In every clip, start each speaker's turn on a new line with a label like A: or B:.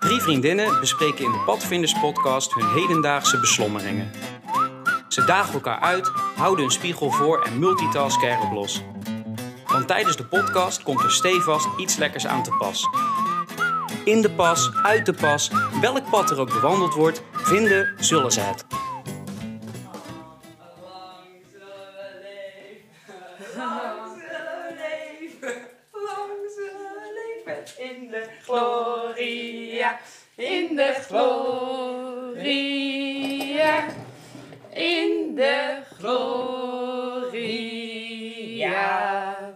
A: Drie vriendinnen bespreken in de Padvinders podcast hun hedendaagse beslommeringen. Ze dagen elkaar uit, houden een spiegel voor en multitasken erop los. Want tijdens de podcast komt er stevast iets lekkers aan te pas. In de pas, uit de pas, welk pad er ook bewandeld wordt, vinden zullen ze het.
B: Lang zullen leven, lang zullen leven, lang zullen leven in de gloria, in de gloria, in de gloria.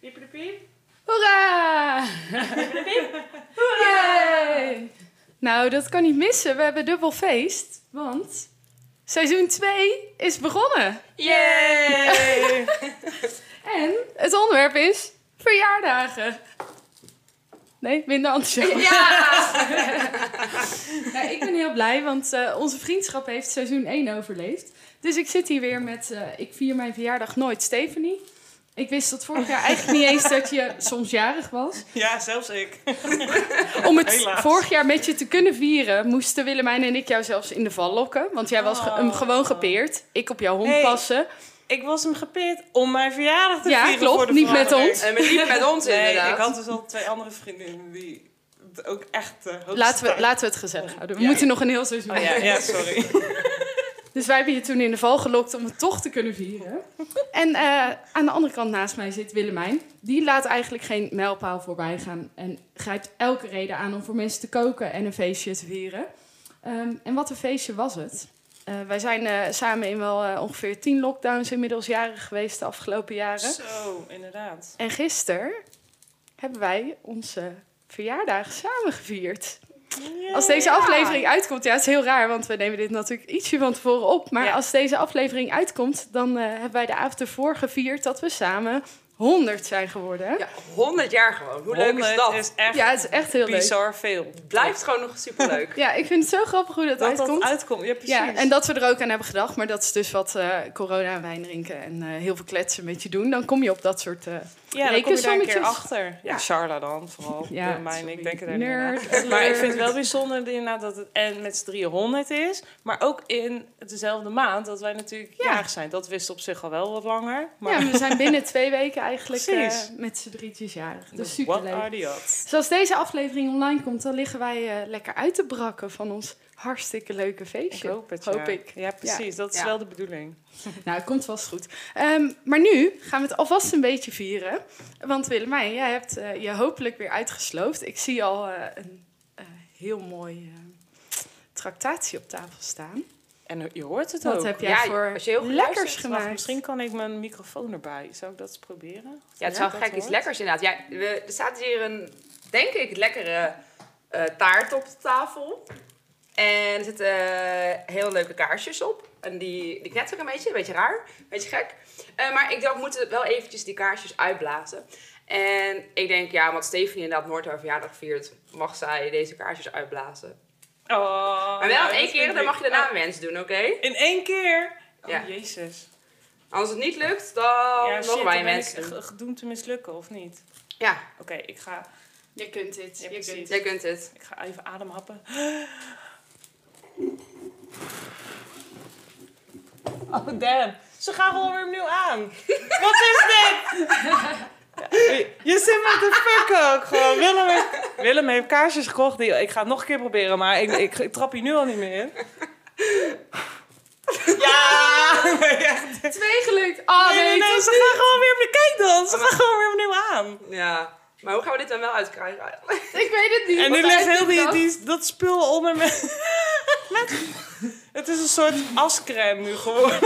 B: Piep, piep, piep.
C: Hoera! Yay! Nou, dat kan niet missen. We hebben dubbel feest, want seizoen 2 is begonnen.
B: Yay!
C: En het onderwerp is verjaardagen. Nee, minder enthousiast.
B: Ja!
C: Ja, ik ben heel blij, want eh, onze vriendschap heeft seizoen 1 overleefd. Dus ik zit hier weer met, eh, ik vier mijn verjaardag nooit, Stephanie. Ik wist dat vorig jaar eigenlijk niet eens dat je soms jarig was.
D: Ja, zelfs ik.
C: Om het
D: Helaas.
C: vorig jaar met je te kunnen vieren, moesten Willemijn en ik jou zelfs in de val lokken. Want jij was ge-
D: Oh.
C: hem gewoon gepeerd. Ik op jouw hond
D: Nee.
C: passen.
D: Ik was hem gepeerd om mijn verjaardag te
C: Ja,
D: vieren
C: klopt,
D: voor de
C: niet met
D: vergadering.
C: ons.
B: En we liepen met ons
D: Nee,
B: inderdaad.
D: ik had dus al twee andere vriendinnen die het ook echt... eh, hoogste
C: Laten we,
D: tijd-
C: laten we het gezellig houden. We
D: Ja.
C: moeten nog een heel seizoen.
D: Oh, ja, ja, sorry.
C: Dus wij hebben je toen in de val gelokt om het toch te kunnen vieren. En eh, aan de andere kant naast mij zit Willemijn. Die laat eigenlijk geen mijlpaal voorbij gaan. En grijpt elke reden aan om voor mensen te koken en een feestje te vieren. Ehm, en wat een feestje was het. Eh, wij zijn eh, samen in wel eh, ongeveer tien lockdowns inmiddels jaren geweest de afgelopen jaren.
D: Zo, inderdaad.
C: En gisteren hebben wij onze verjaardag samen gevierd. Als deze aflevering uitkomt, ja, het is heel raar, want we nemen dit natuurlijk ietsje van tevoren op. Maar
D: Ja.
C: als deze aflevering uitkomt, dan eh, hebben wij de avond ervoor gevierd dat we samen 100 zijn geworden. Ja,
B: Ja, 100 jaar gewoon. Hoe leuk is
D: 100
B: dat?
D: is echt
C: het is echt heel leuk.
D: bizar veel.
B: Blijft gewoon nog superleuk.
C: Ja, ik vind het zo grappig hoe dat,
D: dat
C: uitkomt.
D: dat uitkomt. Ja, precies.
C: ja, en dat we er ook aan hebben gedacht. Maar dat is dus wat eh, corona en wijn drinken en eh, heel veel kletsen met je doen. Dan kom je op dat soort... eh,
D: ja, dan kom je daar een keer
C: rekensommetjes.
D: achter. Ja, Charla dan vooral.
C: Ja,
D: Ja, mijn,
C: sorry.
D: ik denk er daar niet aan.
C: nerd,
D: Maar ik
C: alert.
D: vind het wel bijzonder inderdaad dat het en met z'n drieën 100 is. Maar ook in dezelfde maand dat wij natuurlijk
C: Ja.
D: jarig zijn. Dat wist op zich al wel wat langer. Maar
C: Ja, we zijn binnen twee weken eigenlijk
D: Precies.
C: eh, met z'n drietjes jarig. Dus
D: what
C: superleuk.
D: are the odds?
C: Dus als deze aflevering online komt, dan liggen wij eh, lekker uit te brakken van ons hartstikke leuke
D: Ik
C: feestje.
D: hoop het,
C: Hoop
D: ja.
C: ik.
D: Ja, precies. Dat is
B: Ja.
D: wel de bedoeling.
C: Nou, het komt vast goed. Ehm, maar nu gaan we het alvast een beetje vieren. Want Willemijn, jij hebt eh, je hopelijk weer uitgesloofd. Ik zie al eh, een eh, heel mooi eh, tractatie op tafel staan.
D: En je hoort het
C: Wat
D: ook.
C: heb jij
B: Ja,
C: voor
B: als je heel goed
C: lekkers
B: luistert,
D: Wacht,
C: gemaakt?
D: misschien kan ik mijn microfoon erbij. Zou ik dat eens proberen?
B: Ja, het
D: Ja,
B: zou
D: dat
B: gek iets
D: hoort.
B: lekkers inderdaad. Ja, we, er staat dus hier een, denk ik, lekkere eh, taart op de tafel. En er zitten eh, heel leuke kaarsjes op. En die, die knetteren een beetje, een beetje raar, een beetje gek. Eh, maar ik dacht, we moeten wel eventjes die kaarsjes uitblazen. En ik denk, ja, want Stephanie inderdaad nooit haar verjaardag viert, mag zij deze kaarsjes uitblazen.
D: Oh,
B: Maar wel
D: nou,
B: in
D: dat
B: één keer,
D: vind
B: dan
D: ik-
B: mag je daarna een wens doen, oké?
D: Oh, In één keer? Oh,
B: Ja. Oh,
D: jezus.
B: Als het niet lukt, dan
D: ja, shit,
B: mogen
D: dan
B: wij een
D: ben
B: wens
D: ik
B: doen.
D: ge- gedoemd te mislukken, of niet?
B: Ja,
D: Oké, ik, ga,
C: Je kunt dit.
D: Ja,
C: je
D: precies.
C: kunt dit.
B: jij kunt het.
D: ik ga even ademhappen. Oh, damn. Ze gaan gewoon weer opnieuw aan. Wat is dit? Je zit met de fuck ook gewoon. Willem heeft, Willem heeft kaarsjes gekocht. Die, ik ga het nog een keer proberen, maar ik, ik, ik trap hier nu al niet meer in. Ja!
C: Twee gelukt. Ah,
D: nee, nee, nee,
C: toch
D: ze
C: niet?
D: gaan gewoon weer opnieuw. Kijk dan, ze gaan gewoon weer opnieuw aan.
B: Ja, maar hoe gaan we dit dan wel uitkrijgen eigenlijk?
C: Ik weet het niet.
D: En nu
C: want
D: ligt
C: hij
D: heel
C: doet
D: die,
C: dat.
D: die, dat spul om en met... Het is een soort ascrème nu geworden.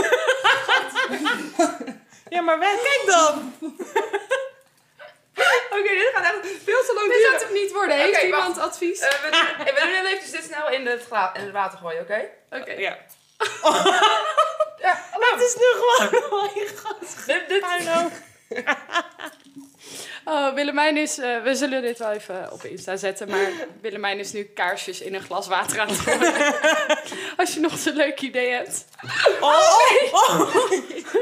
D: ja, maar weg, kijk dan!
B: Oké, dit gaat echt veel te lang
C: Dit
B: duren.
C: gaat hem niet worden. Heeft
B: Oké,
C: iemand advies?
B: Eh, we, doen, we doen heel eventjes dit snel in het, gla- in het water gooien, oké?
C: Oké.
D: Ja.
B: Ja,
D: Het is nu gewoon... Oh, je
B: dit, dit,
D: gaat-
C: Oh, Willemijn is... eh, we zullen dit wel even op Insta zetten. Maar Willemijn is nu kaarsjes in een glas water aan het gooien. Als je nog zo'n leuk idee hebt.
D: Oh, oh, oh.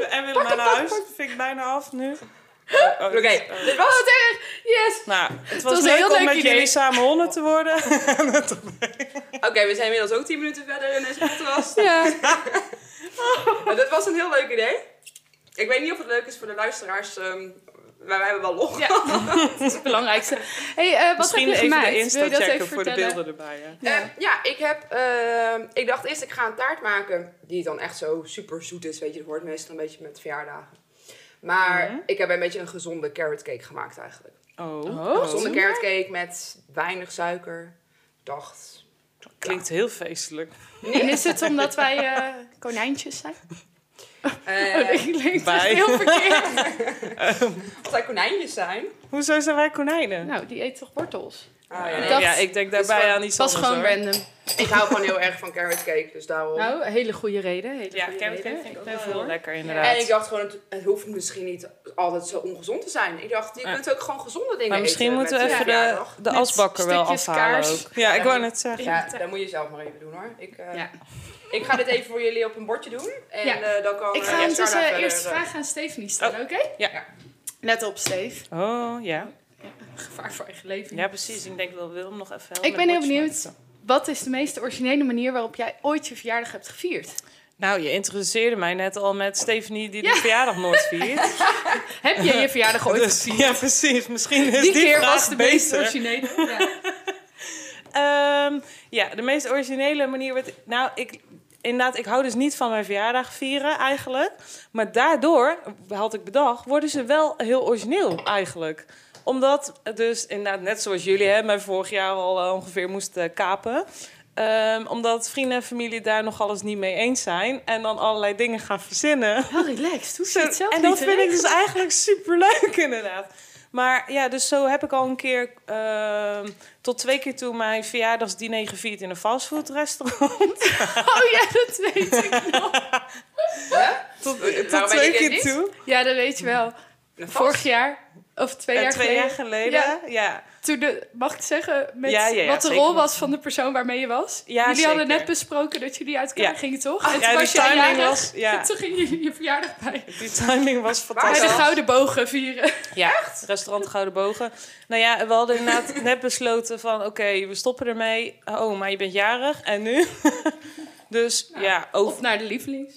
D: En Willem naar huis. Vind ik bijna af nu.
B: Oké, dit was het.
C: Oh, Yes!
D: Nou, het was,
C: was een
D: leuk
C: heel
D: om
C: leuk
D: met
C: idee.
D: jullie samen honden te worden.
B: Oké, we zijn inmiddels ook 10 minuten verder in deze podcast.
C: Ja.
B: Maar dit was een heel leuk idee. Ik weet niet of het leuk is voor de luisteraars, ehm, maar wij hebben wel lol.
C: Ja, dat is het belangrijkste. hey, eh, wat heb
D: Misschien
C: je
D: even
C: gemaakt?
D: de Insta
C: Wil je dat
D: checken
C: even
D: voor de
C: vertellen?
D: beelden erbij. Hè?
B: Ja,
C: Ja.
B: Eh, ja ik, heb, ehm, ik dacht eerst ik ga een taart maken die dan echt zo super zoet is. Weet je, dat hoort meestal een beetje met verjaardagen. Maar
D: Mhm.
B: ik heb een beetje een gezonde carrot cake gemaakt eigenlijk.
D: Oh,
C: Oh,
D: oh.
B: Gezonde
C: Zomaar?
B: carrot cake met weinig suiker. Dacht.
D: klinkt heel feestelijk.
C: En is het omdat wij eh, konijntjes zijn?
B: Eh,
C: oh, nee, klinkt echt
D: Bij.
C: heel verkeerd.
B: Als wij konijntjes zijn.
D: Hoezo zijn wij konijnen?
C: nou, die eet toch wortels?
B: Ah, ja, nee.
C: Dat-
D: ja, ik denk daarbij
B: gewoon-
D: aan iets
C: was
D: anders.
C: gewoon
D: hoor.
C: random.
B: Ik hou gewoon heel erg van carrot cake, dus daarom.
C: Nou, hele goede reden. Hele
D: Ja,
C: goede
D: carrot
C: reden.
D: cake vind ik ook
C: ben
D: wel
C: voor.
D: heel lekker inderdaad.
B: en ik dacht gewoon, het, het hoeft misschien niet altijd zo ongezond te zijn. Ik dacht, je
D: Ja.
B: kunt ook gewoon gezonde dingen
D: maar misschien
B: eten
D: moeten we
B: met
D: even
B: je
D: de,
B: verjaardag.
D: de
C: Met
D: asbakker wel
C: stukjes
D: afhalen
C: kaars.
D: ook. Ja, ik
B: Ja.
D: wou net zeggen.
B: Ja, dat moet je zelf maar even doen hoor. Ik, eh,
C: Ja.
B: ik ga dit even voor jullie op een bordje doen. En
C: Oh, Ja.
B: eh, dan kan
C: Ik
B: eh,
C: ga
B: Jess
C: ondertussen
B: daarna
C: eerst
B: verder, eh,
C: vragen aan Stephanie stellen,
D: Oh.
C: oké?
D: Ja.
C: Let op, Steve.
D: Oh, ja.
C: Gevaar voor eigen leven.
D: Ja, precies. Ik denk wel Willem nog even helpen
C: Ik
D: met
C: ben heel
D: bordjes
C: benieuwd.
D: maken.
C: Wat is de meest originele manier waarop jij ooit je verjaardag hebt gevierd?
D: Nou, je introduceerde mij net al met Stephanie die
C: Ja.
D: de verjaardag nooit viert.
C: Heb jij je verjaardag ooit
D: dus, ja, precies. Misschien is
C: Die,
D: die,
C: keer
D: vraag
C: was de meest
D: beter.
C: originele. Ja.
D: Ehm, ja, de meest originele manier. Wat, nou, ik, inderdaad, ik hou dus niet van mijn verjaardag vieren eigenlijk. Maar daardoor, had ik bedacht, worden ze wel heel origineel eigenlijk. Omdat, het dus inderdaad, net zoals jullie hè, mij vorig jaar al eh, ongeveer moesten kapen. Ehm, omdat vrienden en familie daar nog alles niet mee eens zijn. En dan allerlei dingen gaan verzinnen.
C: Wel relaxed, hoe
D: Zo,
C: zit het zelf
D: en
C: niet
D: dat vind ik
C: terecht?
D: dus eigenlijk superleuk, inderdaad. Maar ja, dus zo heb ik al een keer ehm, tot twee keer toe mijn verjaardagsdiner gevierd in een fastfoodrestaurant.
C: Oh ja, dat weet ik.
D: Tot,
B: eh, Waarom weet
D: tot
B: ik
D: twee
B: dit
D: keer
B: niet?
D: toe.
C: Ja, dat weet je wel.
B: een vast-
C: Vorig jaar, of twee
D: Eh,
C: jaar
D: twee
C: geleden.
D: jaar geleden. Ja, ja.
C: Toen de, mag ik zeggen, met
D: Ja, ja, ja,
C: wat de
D: zeker.
C: rol was van de persoon waarmee je was?
D: Ja,
C: jullie hadden
D: zeker.
C: net besproken dat jullie uit elkaar
D: Ja.
C: gingen, toch? En
D: Ja,
C: toen
D: die
C: was jij
D: timing
C: jarig.
D: was, ja,
C: Toen gingen jullie je verjaardag bij.
D: die timing was
C: Bij
D: fantastisch.
C: de Gouden Bogen vieren.
D: Ja, restaurant Gouden Bogen. Nou ja, we hadden inderdaad net besloten van... oké, we stoppen ermee. Oh, maar je bent jarig. En nu? dus ja, over,
C: Of naar de lievelings.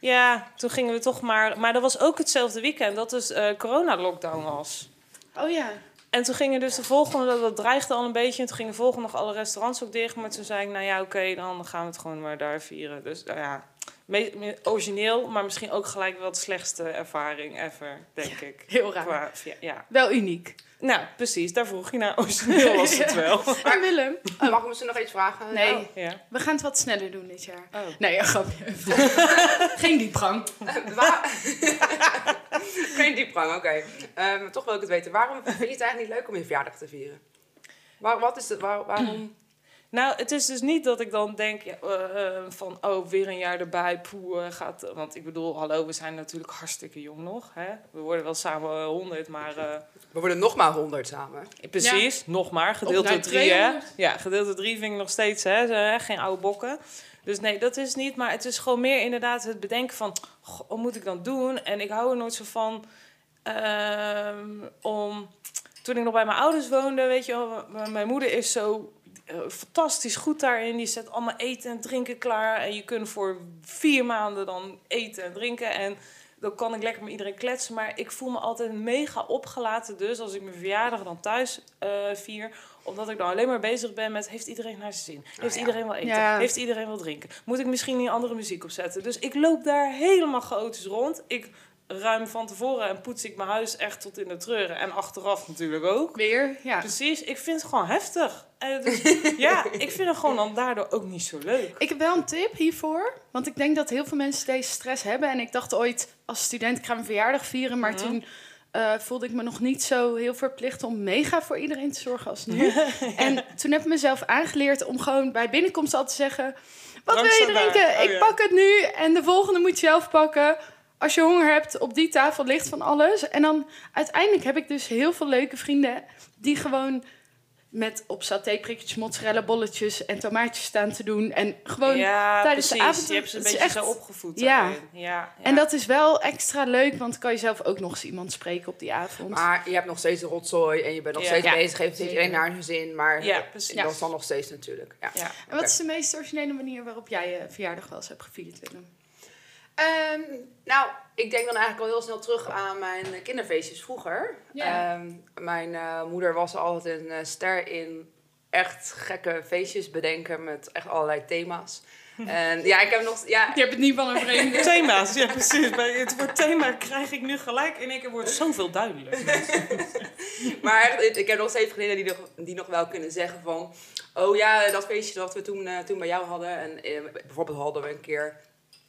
D: Ja, toen gingen we toch maar. Maar dat was ook hetzelfde weekend dat dus eh, corona-lockdown was.
C: Oh ja.
D: En toen gingen dus de volgende, dat, dat dreigde al een beetje. En toen gingen de volgende nog alle restaurants ook dicht. Maar toen zei ik, nou ja, oké, dan gaan we het gewoon maar daar vieren. Dus nou ja, me- me- origineel, maar misschien ook gelijk wel de slechtste ervaring ever, denk ik.
C: Heel raar.
D: Qua, ja, ja.
C: Wel uniek.
D: Nou, precies, daar vroeg je naar. Origineel was het wel.
C: En Willem?
B: Mag ik me ze nog iets vragen?
C: Nee,
B: Oh.
D: Ja.
C: we gaan het wat sneller doen dit jaar.
D: Oh.
C: Nee, een grapje. Geen diepgang.
B: Waar- Geen diepgang, oké. Eh, maar toch wil ik het weten. Waarom vind je het eigenlijk niet leuk om je verjaardag te vieren? Waar, wat is het, waar- waarom?
D: Nou, het is dus niet dat ik dan denk ja, eh, eh, van, oh, weer een jaar erbij, poe, eh, gaat... Want ik bedoel, hallo, we zijn natuurlijk hartstikke jong nog, hè? We worden wel samen honderd, maar... eh,
B: We worden nog maar 100 samen.
D: precies, nog maar, gedeeld
C: Of naar
D: door drie, hè?
C: 200.
D: Ja, gedeeld door drie vind ik nog steeds, hè? zo, hè, Geen oude bokken. Dus nee, dat is niet, maar het is gewoon meer inderdaad het bedenken van... "Goh, wat moet ik dan doen? En ik hou er nooit zo van ehm, om... Toen ik nog bij mijn ouders woonde, weet je wel... m- m- Mijn moeder is zo eh, fantastisch goed daarin. Die zet allemaal eten en drinken klaar. En je kunt voor vier maanden dan eten en drinken. En dan kan ik lekker met iedereen kletsen. Maar ik voel me altijd mega opgelaten dus... als ik mijn verjaardag dan thuis eh, vier. Omdat ik dan alleen maar bezig ben met... heeft iedereen naar zijn zin? Heeft
B: ja.
D: iedereen wel eten?
C: Ja.
D: Heeft iedereen wel drinken? Moet ik misschien niet andere muziek opzetten? Dus ik loop daar helemaal chaotisch rond. Ik ruim van tevoren en poets ik mijn huis echt tot in de treuren. En achteraf natuurlijk ook.
C: Weer, ja.
D: Precies, ik vind het gewoon heftig. En dus, ja, ik vind het gewoon dan daardoor ook niet zo leuk.
C: Ik heb wel een tip hiervoor. Want ik denk dat heel veel mensen deze stress hebben. En ik dacht ooit als student, ik ga mijn verjaardag vieren. Maar
D: Mhm.
C: toen eh, voelde ik me nog niet zo heel verplicht om mega voor iedereen te zorgen als nu. En toen heb ik mezelf aangeleerd om gewoon bij binnenkomst al te zeggen... Wat
D: Drank
C: wil je
D: staat daar.
C: drinken?
D: Oh,
C: ik
D: ja.
C: pak het nu en de volgende moet je zelf pakken. Als je honger hebt, op die tafel ligt van alles. En dan uiteindelijk heb ik dus heel veel leuke vrienden die gewoon met op satéprikjes, mozzarella bolletjes en tomaatjes staan te doen. En gewoon...
D: ja,
C: tijdens de
D: precies.
C: avond-
D: Je hebt ze een
C: het is
D: beetje
C: echt-
D: zo opgevoed.
C: Ja.
D: daarin. ja, ja.
C: En dat is wel extra leuk, want dan kan je zelf ook nog eens iemand spreken op die avond.
D: Ah,
B: Maar je hebt nog steeds de rotzooi en je bent nog
D: Ja.
B: steeds
C: Ja.
B: bezig. Heeft steeds
C: Zeker.
B: iedereen naar hun zin, maar
D: Ja, precies.
B: dat is dan nog steeds natuurlijk. Ja.
D: Ja.
C: en wat is de meest originele manier waarop jij je verjaardag wel eens hebt gevierd, Willem?
B: Ehm, nou, ik denk dan eigenlijk al heel snel terug aan mijn kinderfeestjes vroeger.
C: Ja.
B: Ehm, mijn eh, moeder was altijd een eh, ster in echt gekke feestjes bedenken met echt allerlei thema's. en ja, ik heb nog... Ja,
C: Je hebt het niet van een vreemde.
D: Thema's, ja precies. Bij het woord thema krijg ik nu gelijk in één keer wordt zoveel duidelijk.
B: Maar echt, ik- ik heb nog steeds vriendinnen die nog, die nog wel kunnen zeggen van... Oh ja, dat feestje dat we toen, eh, toen bij jou hadden. En eh, bijvoorbeeld hadden we een keer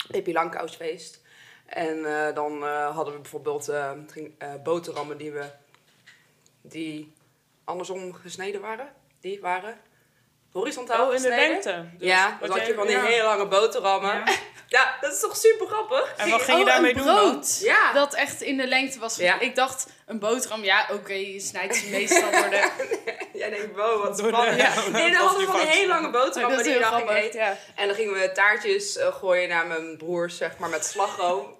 B: Pippi Langkous-feest. En eh, dan eh, hadden we bijvoorbeeld eh, het ging, eh, boterhammen die we... Die andersom gesneden waren. Die waren horizontaal
D: Oh, in de
B: gesneden.
D: lengte. Dus
B: ja,
D: wat
B: dan had
D: jij-
B: je van die
D: ja.
B: hele lange boterhammen. Ja.
D: Ja.
B: dat is toch super grappig?
D: En wat ging je daarmee doen? dan?
C: Oh, brood.
B: Ja.
C: Dat echt in de lengte was.
B: Ja.
C: Ik dacht, een boterham, ja, oké, je snijdt ze meestal door de...
B: Jij denkt, wow, wat
D: Door de-
B: spannend.
D: ja,
B: nee,
D: dat
B: dan hadden
D: was
B: we van die
D: niet
B: hele lange boterhammen
C: dat
B: die
C: is heel
B: we dan gingen
C: grappig.
B: eten.
C: Ja.
B: En dan gingen we taartjes eh, gooien naar mijn broers, zeg maar, met slagroom.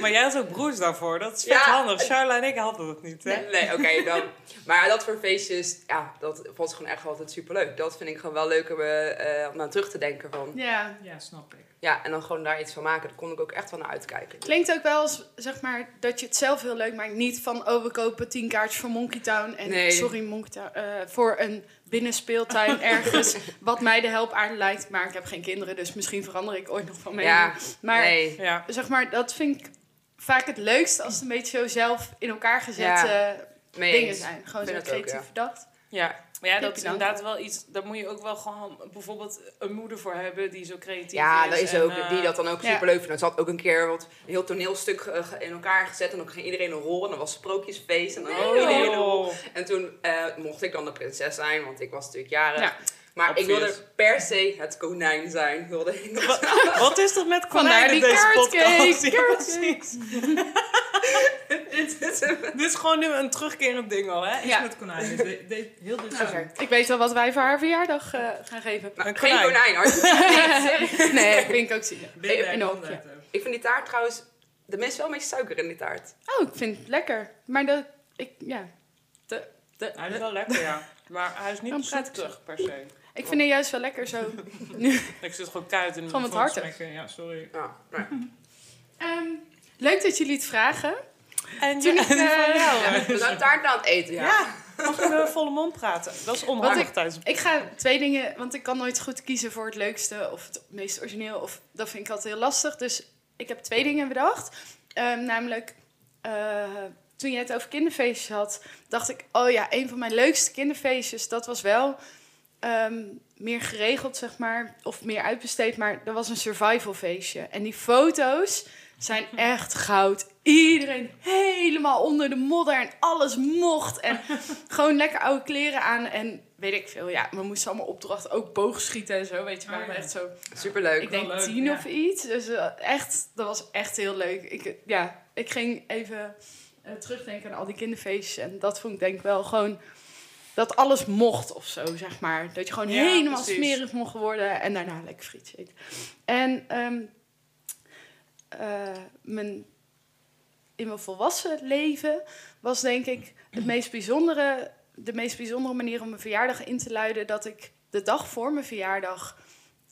D: Maar jij had ook broers daarvoor, dat is vet
B: Ja.
D: handig. Charla en ik hadden dat niet, hè?
B: Nee, nee, oké, dan. Maar dat voor feestjes, ja, dat vond ik gewoon echt altijd superleuk. Dat vind ik gewoon wel leuk om, eh, eh, om aan terug te denken van.
C: Ja.
D: Ja, snap ik.
B: Ja, en dan gewoon daar iets van maken. Daar kon ik ook echt van naar uitkijken.
C: Klinkt ook wel als, zeg maar, dat je het zelf heel leuk maakt. Niet van, oh, we kopen tien kaartjes voor Monkey Town. En
B: Nee.
C: sorry, Monkey Town, eh, voor een binnenspeeltuin ergens. Wat mij de help aan lijkt, maar ik heb geen kinderen. Dus misschien verander ik ooit nog van mening.
B: Ja,
C: maar
B: nee.
D: Ja.
C: zeg maar, dat vind ik vaak het leukst als het een beetje zo zelf in elkaar gezet
B: Ja.
C: eh,
B: Mee
C: dingen
B: eens.
C: zijn. Gewoon
B: Ik
C: zo
B: vind
C: creatief
B: dat ook, ja.
C: bedacht.
D: Ja, maar ja,
C: Heb
D: dat is
C: je dan?
D: inderdaad wel iets. Daar moet je ook wel gewoon bijvoorbeeld een moeder voor hebben die zo creatief is.
B: Ja, dat is
D: en,
B: ook,
D: eh,
B: die dat dan ook
C: ja.
B: superleuk vindt. Ze had ook een keer wat, een heel toneelstuk eh, ge- in elkaar gezet. En dan ging iedereen een rol. En dan was sprookjesfeest. En dan had iedereen een rol.
D: Oh,
B: En toen eh, mocht ik dan de prinses zijn, want ik was natuurlijk jarig.
C: Ja.
B: Maar ik
D: Obvious.
B: wilde per se het konijn zijn. Wilde ik nog.
D: wat is dat met
C: Vandaar
D: konijnen
C: die
D: in deze
C: carrot
D: podcast?
C: cake,
D: Ja,
C: carrot
D: precies.
B: Dit is een-
D: Dit is gewoon nu een terugkerend ding al, hè? Iets
C: Ja.
D: met konijnen. De- de- heel dit seizoen.
C: Ik weet wel wat wij voor haar verjaardag eh, gaan geven.
B: Nou,
D: Een
B: geen
D: konijn.
B: konijn hoor.
C: nee, vind ik ook zielig.
D: Dit
C: In een
D: en
C: hoekje.
D: dat.
B: ik vind die taart trouwens... Er is wel een beetje suiker in die taart.
C: Oh, ik vind het lekker. Maar dat, ik, ja. De, de,
D: Hij is wel lekker, ja. Maar hij is
C: Dan
D: niet
C: praat ik
D: zoetig per se.
C: Ik vind het juist wel lekker zo.
D: Ik zit gewoon kuit in de
C: Gewoon wat
D: mond
C: hartig.
D: smekken. Ja, sorry.
B: Ja, nou ja.
C: Ehm, leuk dat jullie het vragen. Toen
D: En toen
C: ik,
D: ik, van
C: eh,
D: jou.
B: Ja,
D: hè?
B: we zijn taart aan het eten, ja.
D: Ja, mag je met een volle mond praten? Dat is
C: Wat
D: onhandig
C: ik-
D: tijdens
C: Ik ga twee dingen, want ik kan nooit goed kiezen voor het leukste of het meest origineel. Of, dat vind ik altijd heel lastig. Dus ik heb twee dingen bedacht. Ehm, namelijk, eh, toen je het over kinderfeestjes had, dacht ik, oh ja, een van mijn leukste kinderfeestjes, dat was wel ehm, meer geregeld, zeg maar, of meer uitbesteed. Maar dat was een survival feestje. En die foto's zijn echt goud. Iedereen helemaal onder de modder en alles mocht. En gewoon lekker oude kleren aan en weet ik veel. Ja, we moesten allemaal opdrachten, ook boogschieten en zo, weet je. Maar
D: Oh, ja.
C: echt zo,
B: Superleuk.
C: ik denk
D: wel leuk,
C: tien
D: ja.
C: of iets. Dus eh, echt, dat was echt heel leuk. Ik, eh, ja, ik ging even eh, terugdenken aan al die kinderfeestjes. En dat vond ik denk ik wel gewoon... Dat alles mocht of zo, zeg maar. Dat je gewoon
D: Ja,
C: helemaal
D: precies.
C: smerig mocht worden. En daarna lekker frietje eten. En ehm, eh, mijn, in mijn volwassen leven was denk ik het meest bijzondere, de meest bijzondere manier om mijn verjaardag in te luiden dat ik de dag voor mijn verjaardag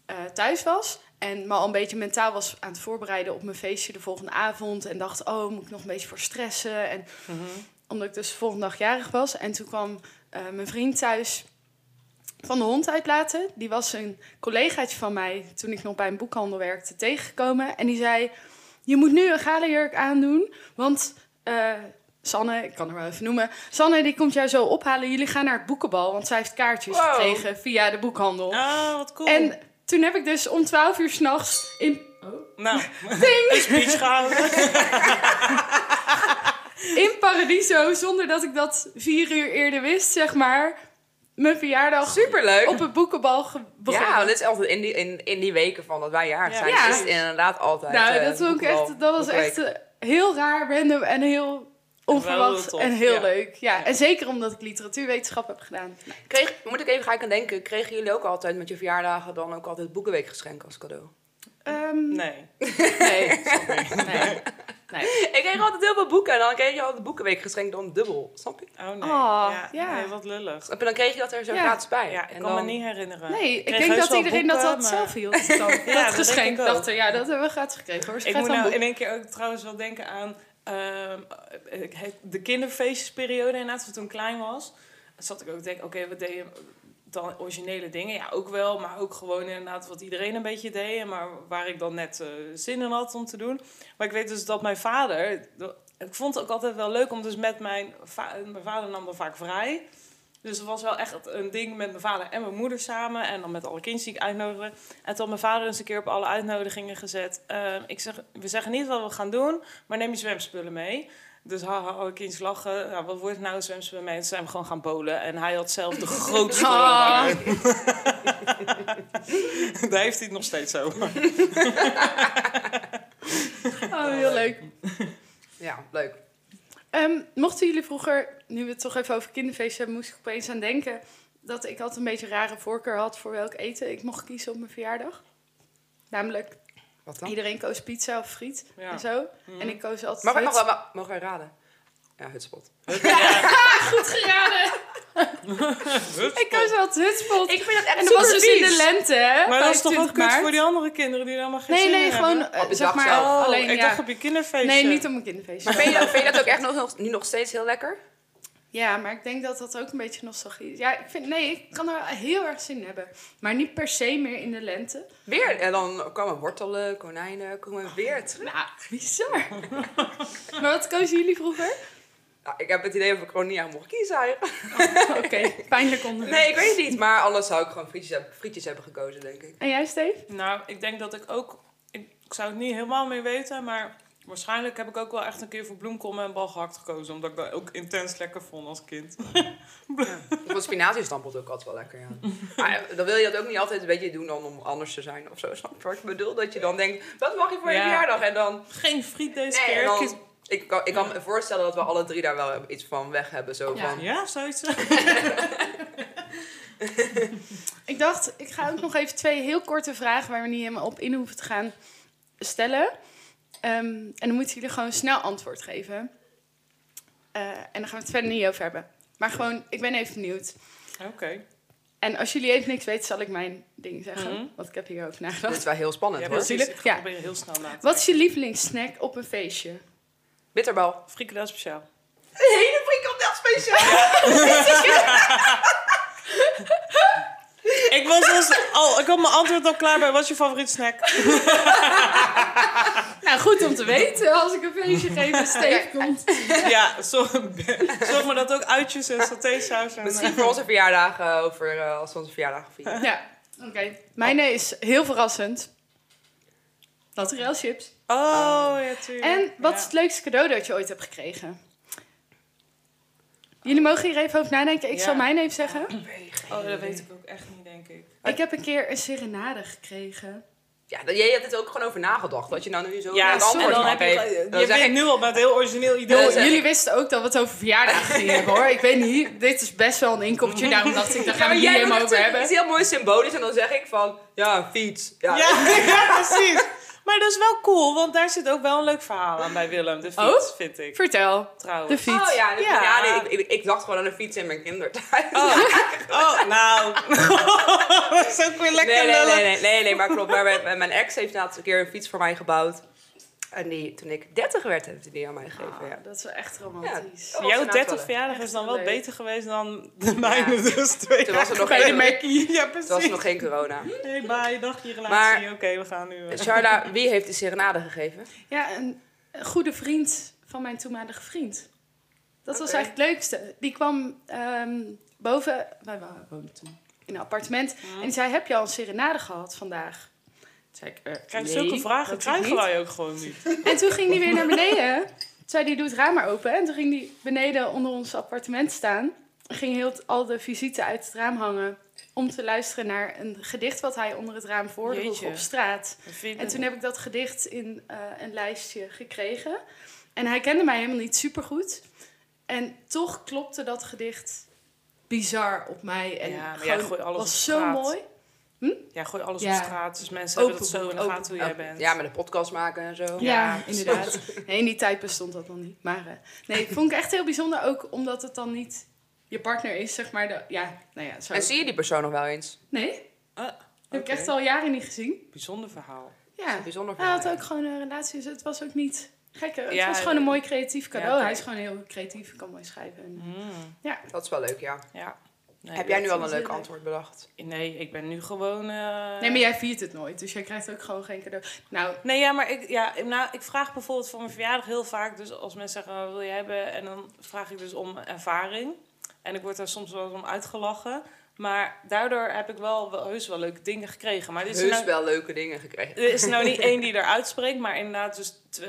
C: eh, thuis was. En me al een beetje mentaal was aan het voorbereiden op mijn feestje de volgende avond. En dacht, oh, moet ik nog een beetje voor stressen? En omdat ik dus de volgende dag jarig was. En toen kwam eh, mijn vriend thuis van de hond uitlaten. Die was een collegaatje van mij toen ik nog bij een boekhandel werkte tegengekomen. En die zei: Je moet nu een galenjurk aandoen, want. eh, Sanne, ik kan haar wel even noemen. Sanne, die komt jou zo ophalen. Jullie gaan naar het boekenbal, want zij heeft kaartjes
B: Wow.
C: gekregen via de boekhandel.
D: Oh, wat cool.
C: En toen heb ik dus om 12 uur s'nachts in,
D: Nou, een speech gehouden.
C: in Paradiso, zonder dat ik dat vier uur eerder wist, zeg maar, mijn verjaardag
B: Superleuk.
C: op het boekenbal ge- begonnen.
B: Ja, want dit is altijd in die, in, in die weken van dat wij jarig
D: Ja.
B: zijn.
C: Ja.
B: is het inderdaad altijd...
C: nou,
B: eh,
C: dat, vond ik
B: wel-
C: echt, dat was
B: wel leuk.
C: echt eh, heel raar, random en heel onverwacht
D: tof,
C: en heel
D: ja.
C: leuk. Ja, en zeker omdat ik literatuurwetenschap heb gedaan. Nou,
B: Kreeg, moet ik even gelijk aan denken, kregen jullie ook altijd met je verjaardagen dan ook altijd boekenweekgeschenk als cadeau?
C: ehm,
D: Nee.
C: nee. nee. nee.
B: Ik kreeg altijd heel veel boeken en dan kreeg je altijd boekenweekgeschenk dan dubbel, snap je?
D: Oh nee.
C: Oh,
D: ja.
C: ja.
D: Nee, wat lullig.
B: Snap je, dan kreeg je dat er zo
C: Ja.
B: gratis bij.
D: Ja, ik
B: en
D: kan me
B: dan-
D: niet herinneren.
C: Nee, ik
D: kreeg
C: denk
D: heus
C: dat
D: wel
C: iedereen dat
D: boeken,
C: dat
D: maar-
C: zelf hield. Dan.
D: dat
C: dat
D: denk
C: geschenk.
D: ik ook.
C: dacht er, ja, dat hebben we gratis gekregen hoor. Ze
D: Ik
C: gaat
D: moet
C: dan
D: nou in
C: boeken.
D: één keer ook trouwens wel denken aan ehm, ik heet- de kinderfeestjesperiode. Inderdaad, toen ik klein was, zat ik ook te denken, oké, we deden dan originele dingen. Ja, ook wel, maar ook gewoon inderdaad wat iedereen een beetje deed. Maar waar ik dan net eh, zin in had om te doen. Maar ik weet dus dat mijn vader... Ik vond het ook altijd wel leuk om dus met mijn... va- mijn vader nam dan vaak vrij. Dus het was wel echt een ding met mijn vader en mijn moeder samen. En dan met alle kindjes die ik uitnodigde. En toen had mijn vader eens een keer op alle uitnodigingen gezet. ehm, ik zeg, we zeggen niet wat we gaan doen, maar neem je zwemspullen mee. Dus haha, alle kindjes lachen. Nou, wat wordt nou een zwemspullen mee? En toen zijn we gewoon gaan bowlen. En hij had zelf de grootste.
C: Ah.
D: Daar heeft hij het nog steeds over.
C: Oh, heel leuk.
B: Ja, leuk.
C: Ehm, mochten jullie vroeger, nu we het toch even over kinderfeesten hebben, moest ik opeens aan denken dat ik altijd een beetje een rare voorkeur had voor welk eten ik mocht kiezen op mijn verjaardag. Namelijk,
B: Wat dan?
C: iedereen koos pizza of friet
D: Ja. Mhm.
C: en zo. En ik koos altijd.
B: Mag ik nog
C: friet.
B: wel, mag- mogen wij raden? Ja, hutspot.
C: goed geraden. Ik koos altijd hutspot.
B: Ik vind dat echt
C: en dat was dus in de
B: lente.
C: lente, hè?
D: Maar dat is toch ook
C: 25
D: kut
C: maart.
D: voor die andere kinderen die dan maar geen
C: Nee,
D: zin
C: nee,
D: in
C: gewoon
D: hebben?
C: eh,
B: Op de
C: zeg
B: dag
C: maar.
B: zelf.
D: Oh,
C: alleen,
D: ik
C: ja.
D: dacht op je kinderfeestje.
C: Nee, niet op mijn kinderfeestje.
B: Maar vind je, vind je dat ook echt nog, nog- nu nog steeds heel lekker?
C: Ja, maar ik denk dat dat ook een beetje nostalgie is. Ja, ik vind, nee, ik kan er heel erg zin in hebben. Maar niet per se meer in de lente.
B: Weer. En dan kwamen wortelen, konijnen, komen we weer terug.
C: Nou, bizar. maar wat kozen jullie vroeger?
B: Nou, ik heb het idee dat ik gewoon niet aan mocht kiezen eigenlijk.
C: Oké, pijnlijk onderwerp.
B: Nee, ik weet het niet. Maar anders zou ik gewoon frietjes hebben, frietjes hebben gekozen, denk ik.
C: En jij, Steve?
D: Nou, ik denk dat ik ook... Ik, ik zou het niet helemaal meer weten, maar... Waarschijnlijk heb ik ook wel echt een keer voor bloemkool en balgehakt gekozen. Omdat ik dat ook intens lekker vond als kind.
B: Want spinazie stampelt ook altijd wel lekker, ja. Maar ja, dan wil je dat ook niet altijd een beetje doen dan om anders te zijn of zo. Snap je wat ik bedoel? Dat je dan denkt, wat mag je voor je
D: Ja.
B: verjaardag? En dan...
D: Geen friet deze
B: Nee,
D: keer.
B: en
D: Kies-
B: dan ik, kan, ik kan me voorstellen dat we alle drie daar wel iets van weg hebben. Zo
C: Ja.
B: van,
D: Ja, zoiets.
C: Ik dacht, ik ga ook nog even twee heel korte vragen waar we niet helemaal op in hoeven te gaan stellen. Ehm, en dan moeten jullie gewoon snel antwoord geven. Eh, en dan gaan we het verder niet over hebben. Maar gewoon, ik ben even benieuwd.
D: Oké.
C: En als jullie even niks weten, zal ik mijn ding zeggen.
D: Mhm.
C: Want ik heb hier ook nagedacht.
B: dit is wel heel spannend
D: Ja,
B: hoor.
D: precies. Ik ga
C: Ja.
D: proberen heel snel na te
C: Wat is je lievelingssnack op een feestje?
B: Bitterbal.
D: denken. Frikandel speciaal.
B: Een hele frikandel speciaal.
D: Ik was dus al... Ik had mijn antwoord al klaar bij. Wat is je favoriet snack?
C: Nou, goed om te weten als ik een feestje geef en Steve komt.
D: Ja, zorg, zorg maar dat ook uitjes en satésaus en...
B: Misschien voor onze verjaardagen over, eh, als we onze verjaardag vieren.
C: Ja, oké. Mijne is heel verrassend. Naturel chips.
D: Oh, ja, tuurlijk.
C: En wat
D: Ja.
C: is het leukste cadeau dat je ooit hebt gekregen? Jullie mogen hier even over nadenken. Ik
D: Ja.
C: zal mijn even zeggen.
D: Oh, dat weet ik ook echt niet, denk ik.
C: Ik heb een keer een serenade gekregen.
B: Ja, dat- jij hebt het ook gewoon over nagedacht. Dat je nou nu zo
D: Ja,
B: het
C: sorry.
B: antwoord
D: en dan
B: mag
D: heb
B: geven.
D: je,
B: Dan
D: je
B: zeg
D: bent
B: ik,
D: nu al met een heel origineel
C: Yo,
D: idee.
B: zeg-
C: Oh, jullie wisten ook dat we het over verjaardagen gingen hebben hoor. Ik weet niet, dit is best wel een inkoppertje. Daarom dacht ik, daar
B: ja,
C: gaan we
B: maar
C: het niet
B: jij doet
C: helemaal
B: het
C: over
B: natuurlijk- het
C: hebben.
B: is heel mooi symbolisch. En dan zeg ik van, ja, een fiets. Ja.
D: Ja, ja, precies. Maar dat is wel cool, want daar zit ook wel een leuk verhaal aan bij Willem. De fiets, vind ik.
C: Vertel, de
D: Trouwens.
C: fiets.
B: Oh ja, dus-
D: Ja.
B: ja, nee, ik, ik, ik dacht gewoon aan een fiets in mijn kindertijd.
D: Oh, nou. dat is ook weer lekker
B: nee, nee,
D: lullig.
B: nee, nee, nee, nee, maar klopt. Maar mijn, mijn ex heeft laatst een keer een fiets voor mij gebouwd. En die, toen ik 30 werd, heeft hij die aan mij gegeven.
C: Ah,
B: ja.
C: dat is wel echt romantisch.
B: Ja. Oh,
D: Jouw
B: Of
D: 30
B: aanvallen.
D: verjaardag is dan wel
C: Leuk.
D: beter geweest dan de mijne, dus twee
B: Toen was er
D: jaar
B: nog
C: Bij de
B: geen,
C: Mackie.
D: Ja,
B: toen was
D: precies.
B: er nog geen corona.
D: Hey, bye, dag je relatie.
B: Maar-
D: Oké, we gaan nu... eh.
B: Charla, wie heeft de serenade gegeven?
C: Ja, een een goede vriend van mijn toenmalige vriend. Dat was
B: Oké.
C: eigenlijk het leukste. Die kwam ehm, boven, wij wa- woonden toen in een appartement. En die zei, heb je al een serenade gehad vandaag? Toen zei ik, eh,
D: Krijg je
C: nee,
D: zulke vragen
C: dat
D: krijgen
C: niet.
D: wij ook gewoon niet.
C: En toen ging die weer naar beneden. Toen zei die, doe het raam maar open. En toen ging die beneden onder ons appartement staan. En ging heel t- al de visite uit het raam hangen. Om te luisteren naar een gedicht wat hij onder het raam voordroeg
D: Jeetje.
C: op straat.
D: Vind-
C: En toen heb ik dat gedicht in eh, een lijstje gekregen. En hij kende mij helemaal niet supergoed. En toch klopte dat gedicht bizar op mij. En
D: Ja, maar jij
C: gewoon,
D: gooit alles op
C: was
D: de
C: zo
D: straat.
C: mooi.
D: Ja, gooi alles
C: Ja.
D: op straat. Dus mensen
C: Open
D: hebben dat zo in de
C: boek,
D: gaten hoe jij bent.
B: Oh, Ja, met een podcast maken en zo.
C: Ja,
D: Ja,
C: inderdaad. Nee, in die tijd bestond dat nog niet. Maar eh, nee, vond ik echt heel bijzonder. Ook omdat het dan niet je partner is, zeg maar. De, ja, nou ja, zo.
B: En zie je die persoon nog wel eens?
C: Nee,
D: Ah,
C: heb ik
D: oké.
C: echt al jaren niet gezien.
D: Bijzonder verhaal.
C: Ja,
B: Bijzonder
C: hij had
B: verhaal.
C: ook gewoon een relatie. Dus het was ook niet gek. hè. Het
D: Ja,
C: was gewoon een mooi creatief cadeau.
D: oké.
C: Hij is gewoon heel creatief, kan mooi schrijven. En-
D: Mm,
B: Dat is wel leuk, ja.
D: ja. Nee,
B: Heb jij nu
D: dat-
B: al een
C: heel
B: leuk
C: leuk.
B: antwoord bedacht?
D: Nee, ik ben nu gewoon... eh,
C: Nee, maar jij viert het nooit. Dus jij krijgt ook gewoon geen cadeau. Nou,
D: Nee, ja, maar ik, ja, nou, ik vraag bijvoorbeeld voor mijn verjaardag heel vaak. Dus als mensen zeggen, wat wil je hebben? En dan vraag ik dus om ervaring. En ik word daar soms wel eens om uitgelachen. Maar daardoor heb ik wel, wel heus wel leuke dingen gekregen. Maar dit is
B: Heus
D: nou-
B: wel leuke dingen gekregen.
D: Er is nou niet één die eruit springt, maar inderdaad, dus t- eh,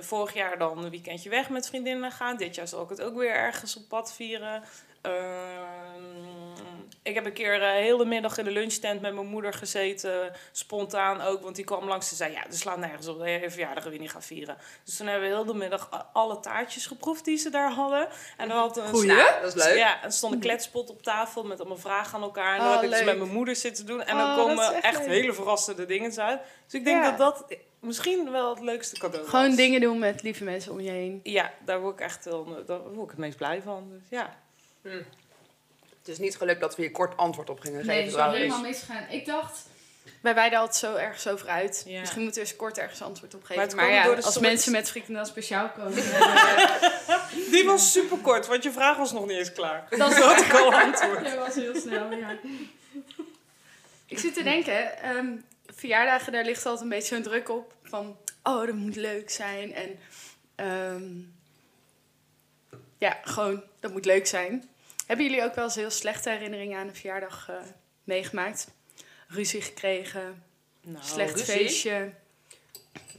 D: vorig jaar dan een weekendje weg met vriendinnen gaan. Dit jaar zal ik het ook weer ergens op pad vieren. Ehm, ik heb een keer eh, heel de middag in de lunchtent met mijn moeder gezeten. Spontaan ook, want die kwam langs en zei: Ja, er slaat nergens op dat je je verjaardag weer niet gaat vieren. Dus toen hebben we heel de middag a- alle taartjes geproefd die ze daar hadden. En dan had een
B: Goeie,
D: snack-
B: dat is leuk.
D: Ja, en er stond een kletspot op tafel met allemaal vragen aan elkaar. En dan
C: Oh,
D: heb ik dus
C: leuk.
D: met mijn moeder zitten doen. En
C: Oh, dat
D: dan
C: is
D: komen
C: echt
D: echt,
C: leuk.
D: hele verrassende dingen uit. Dus ik denk
C: Ja.
D: dat dat misschien wel het leukste cadeau was.
C: gewoon dingen doen met lieve mensen om je heen.
D: Ja, daar word ik echt heel, daar word ik het meest blij van. Dus ja.
B: Het is niet gelukt dat we hier kort antwoord op gingen
C: Nee,
B: geven.
C: het zou
B: trouwens.
C: helemaal misgaan. Ik dacht, wij wijden altijd zo ergens over uit.
D: Ja.
C: Misschien moeten we eens kort ergens antwoord op geven.
D: Maar het
C: Maar,
D: kwam
C: ja,
D: door de
C: als
D: soort-
C: mensen met frikandel speciaal komen, eh,
D: Die was super kort, want je vraag was nog niet eens klaar.
C: dat is
D: Had ik al antwoord.
C: Ja, was heel snel, ja. Ik zit te denken, ehm, verjaardagen, daar ligt altijd een beetje zo'n druk op. Van, oh, dat moet leuk zijn. En ehm, ja, gewoon, dat moet leuk zijn. Hebben jullie ook wel eens heel slechte herinneringen aan een verjaardag eh, meegemaakt? Ruzie gekregen,
D: Nou,
C: slecht
B: ruzie?
C: feestje.